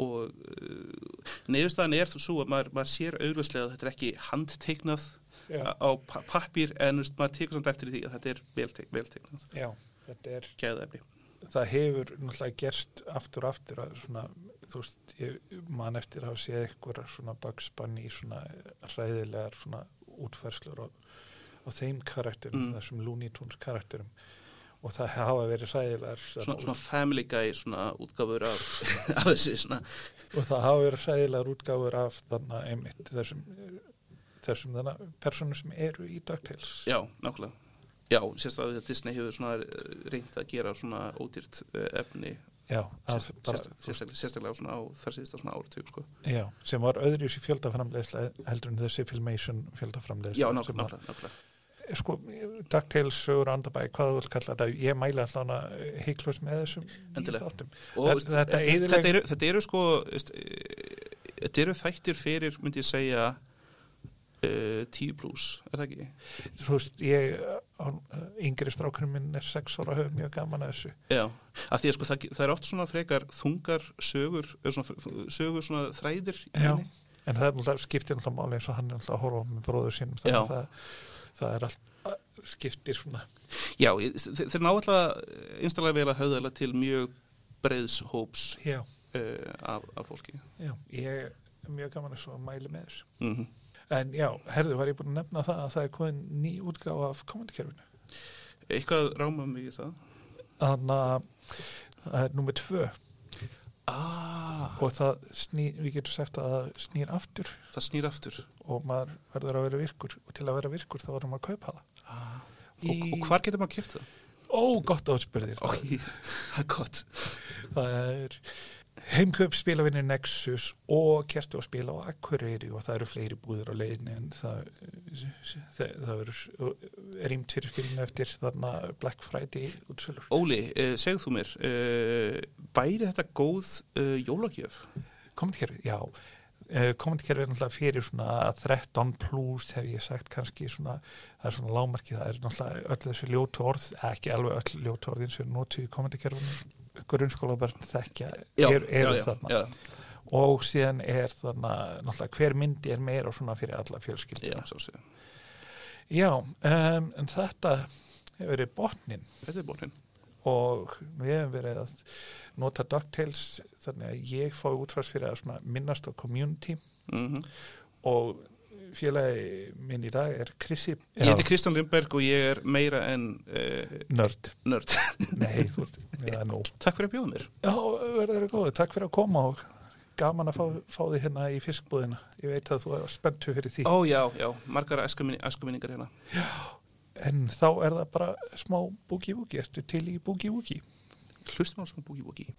og uh, neyðustæðan er svo að maður, maður sér augljóslega að þetta er ekki handteiknað Já. á- á pa- pappír en veist, maður tekur samt eftir því að þetta er vel, teik, vel teiknað, já, þetta er gæðaefni það hefur náttúrulega gerst aftur og aftur að svona, þú veist, ég man eftir að hafa séð eitthvað svona bakspanni í svona ræðilegar svona útfærslur og, og þeim karakterum, Mm. þessum Looney Tunes karakterum og það hafa verið ræðilegar svona, svona family guy svona útgáfur af, af þessi svona og það hafa verið ræðilegar útgáfur af þannig að einmitt þessum þessum þannig að personu sem eru í DuckTales Já, nákvæmlega. Já, sérstaklega að Disney hefur svona eh, reynt að gera svona ódýrt eh, efni já, að, sérst- Ah, bara, sérst- sérstaklega, sérstaklega svona á þar síðasta svona áratug sko. já, sem var öðruvísi fjöldaframleiðsla heldur en þessi Filmation fjöldaframleiðsla Já, sem að- nákvæmlega, nákvæmlega. sko, DuckTales sögur andabæ, hvað þú vil kalla þetta, ég mæla allan að heiklust eh, með þessum Endilega. þáttum. Og, Þetta- veist, þetta eh, eyðilegg- þetta, eru, þetta eru sko veist, eh, þetta eru þættir fyrir myndi ég segja uh, tíu pluss, er það ekki? Þú veist, ég, hann, yngri strákurinn minn er sex ára höfum mjög gaman að þessu. Já, af því að sko það, það er oft svona frekar þungar sögur, eh, svona, f- sögur svona þræðir í henni. En það er náttúrulega skiptir náttúrulega máli eins og hann er náttúrulega að horfa á með bróður sínum, þannig Já. að það, það er allt eh, skiptir svona. Já, ég- þe- þeir ná alltaf einstaklega vel að höfðala til mjög breiðs hóps Já, uh, af, af fólki já, ég er mjög gaman að þessu að mæli með þessu. mm En já, herðu, var ég búin að nefna það að það er komin ný útgáfa af kommandikerfinu. Eitthvað ráma mig í það Þannig að það er númer tvö ah. og það snýr, við getum sagt að það snýr aftur Það snýr aftur og maður verður að vera virkur og til að vera virkur þá verður maður að kaupa það Ah. og, Í- og hvar getur maður kæft það? Ó, gott átspyrðir Ó, ég- Það er gott Það er heimkaup spilavinni Nexus og kerti og spila á Akureyri og það eru fleiri búður á leiðinni en það, það, það eru rýmt fyrir spilinu eftir þarna Black Friday útsölur Óli, uh, segðu þú mér uh, Bæri þetta góð uh, jólagjöf? kommentkerfið, já kommentkerfið er náttúrulega fyrir svona 13 plus hef ég sagt kannski svona, það er svona lámarkið það er náttúrulega öll þessi ljótu orð eh, ekki alveg öll ljótu orðin sem notu í kommentkerfinu grunnskóla bara þekkja er, eru þarna já, og síðan er þarna náttúrulega hver myndi er meira svona fyrir alla já, fjölskyldina svo sé já um, en þetta hefur verið botnin Þetta er bónin og við hefum verið að nota DuckTales þannig að ég fái útfærs fyrir að svona minnast á community mm og félagi minn í dag er Krissi Ég heiti Kristján Lindberg og ég er meira en uh, Nörd nörd Nei, þú ert með það nú Takk fyrir að bjóða mér Já, verður það góð, takk fyrir að koma og gaman að fá, fá því hérna í fiskbúðina Ég veit að þú er spenntu fyrir því Ó, já, já, margar æskuminningar hérna En þá er það bara smá búki-búki, ertu til í búki-búki? Hlustum á svona búki-búki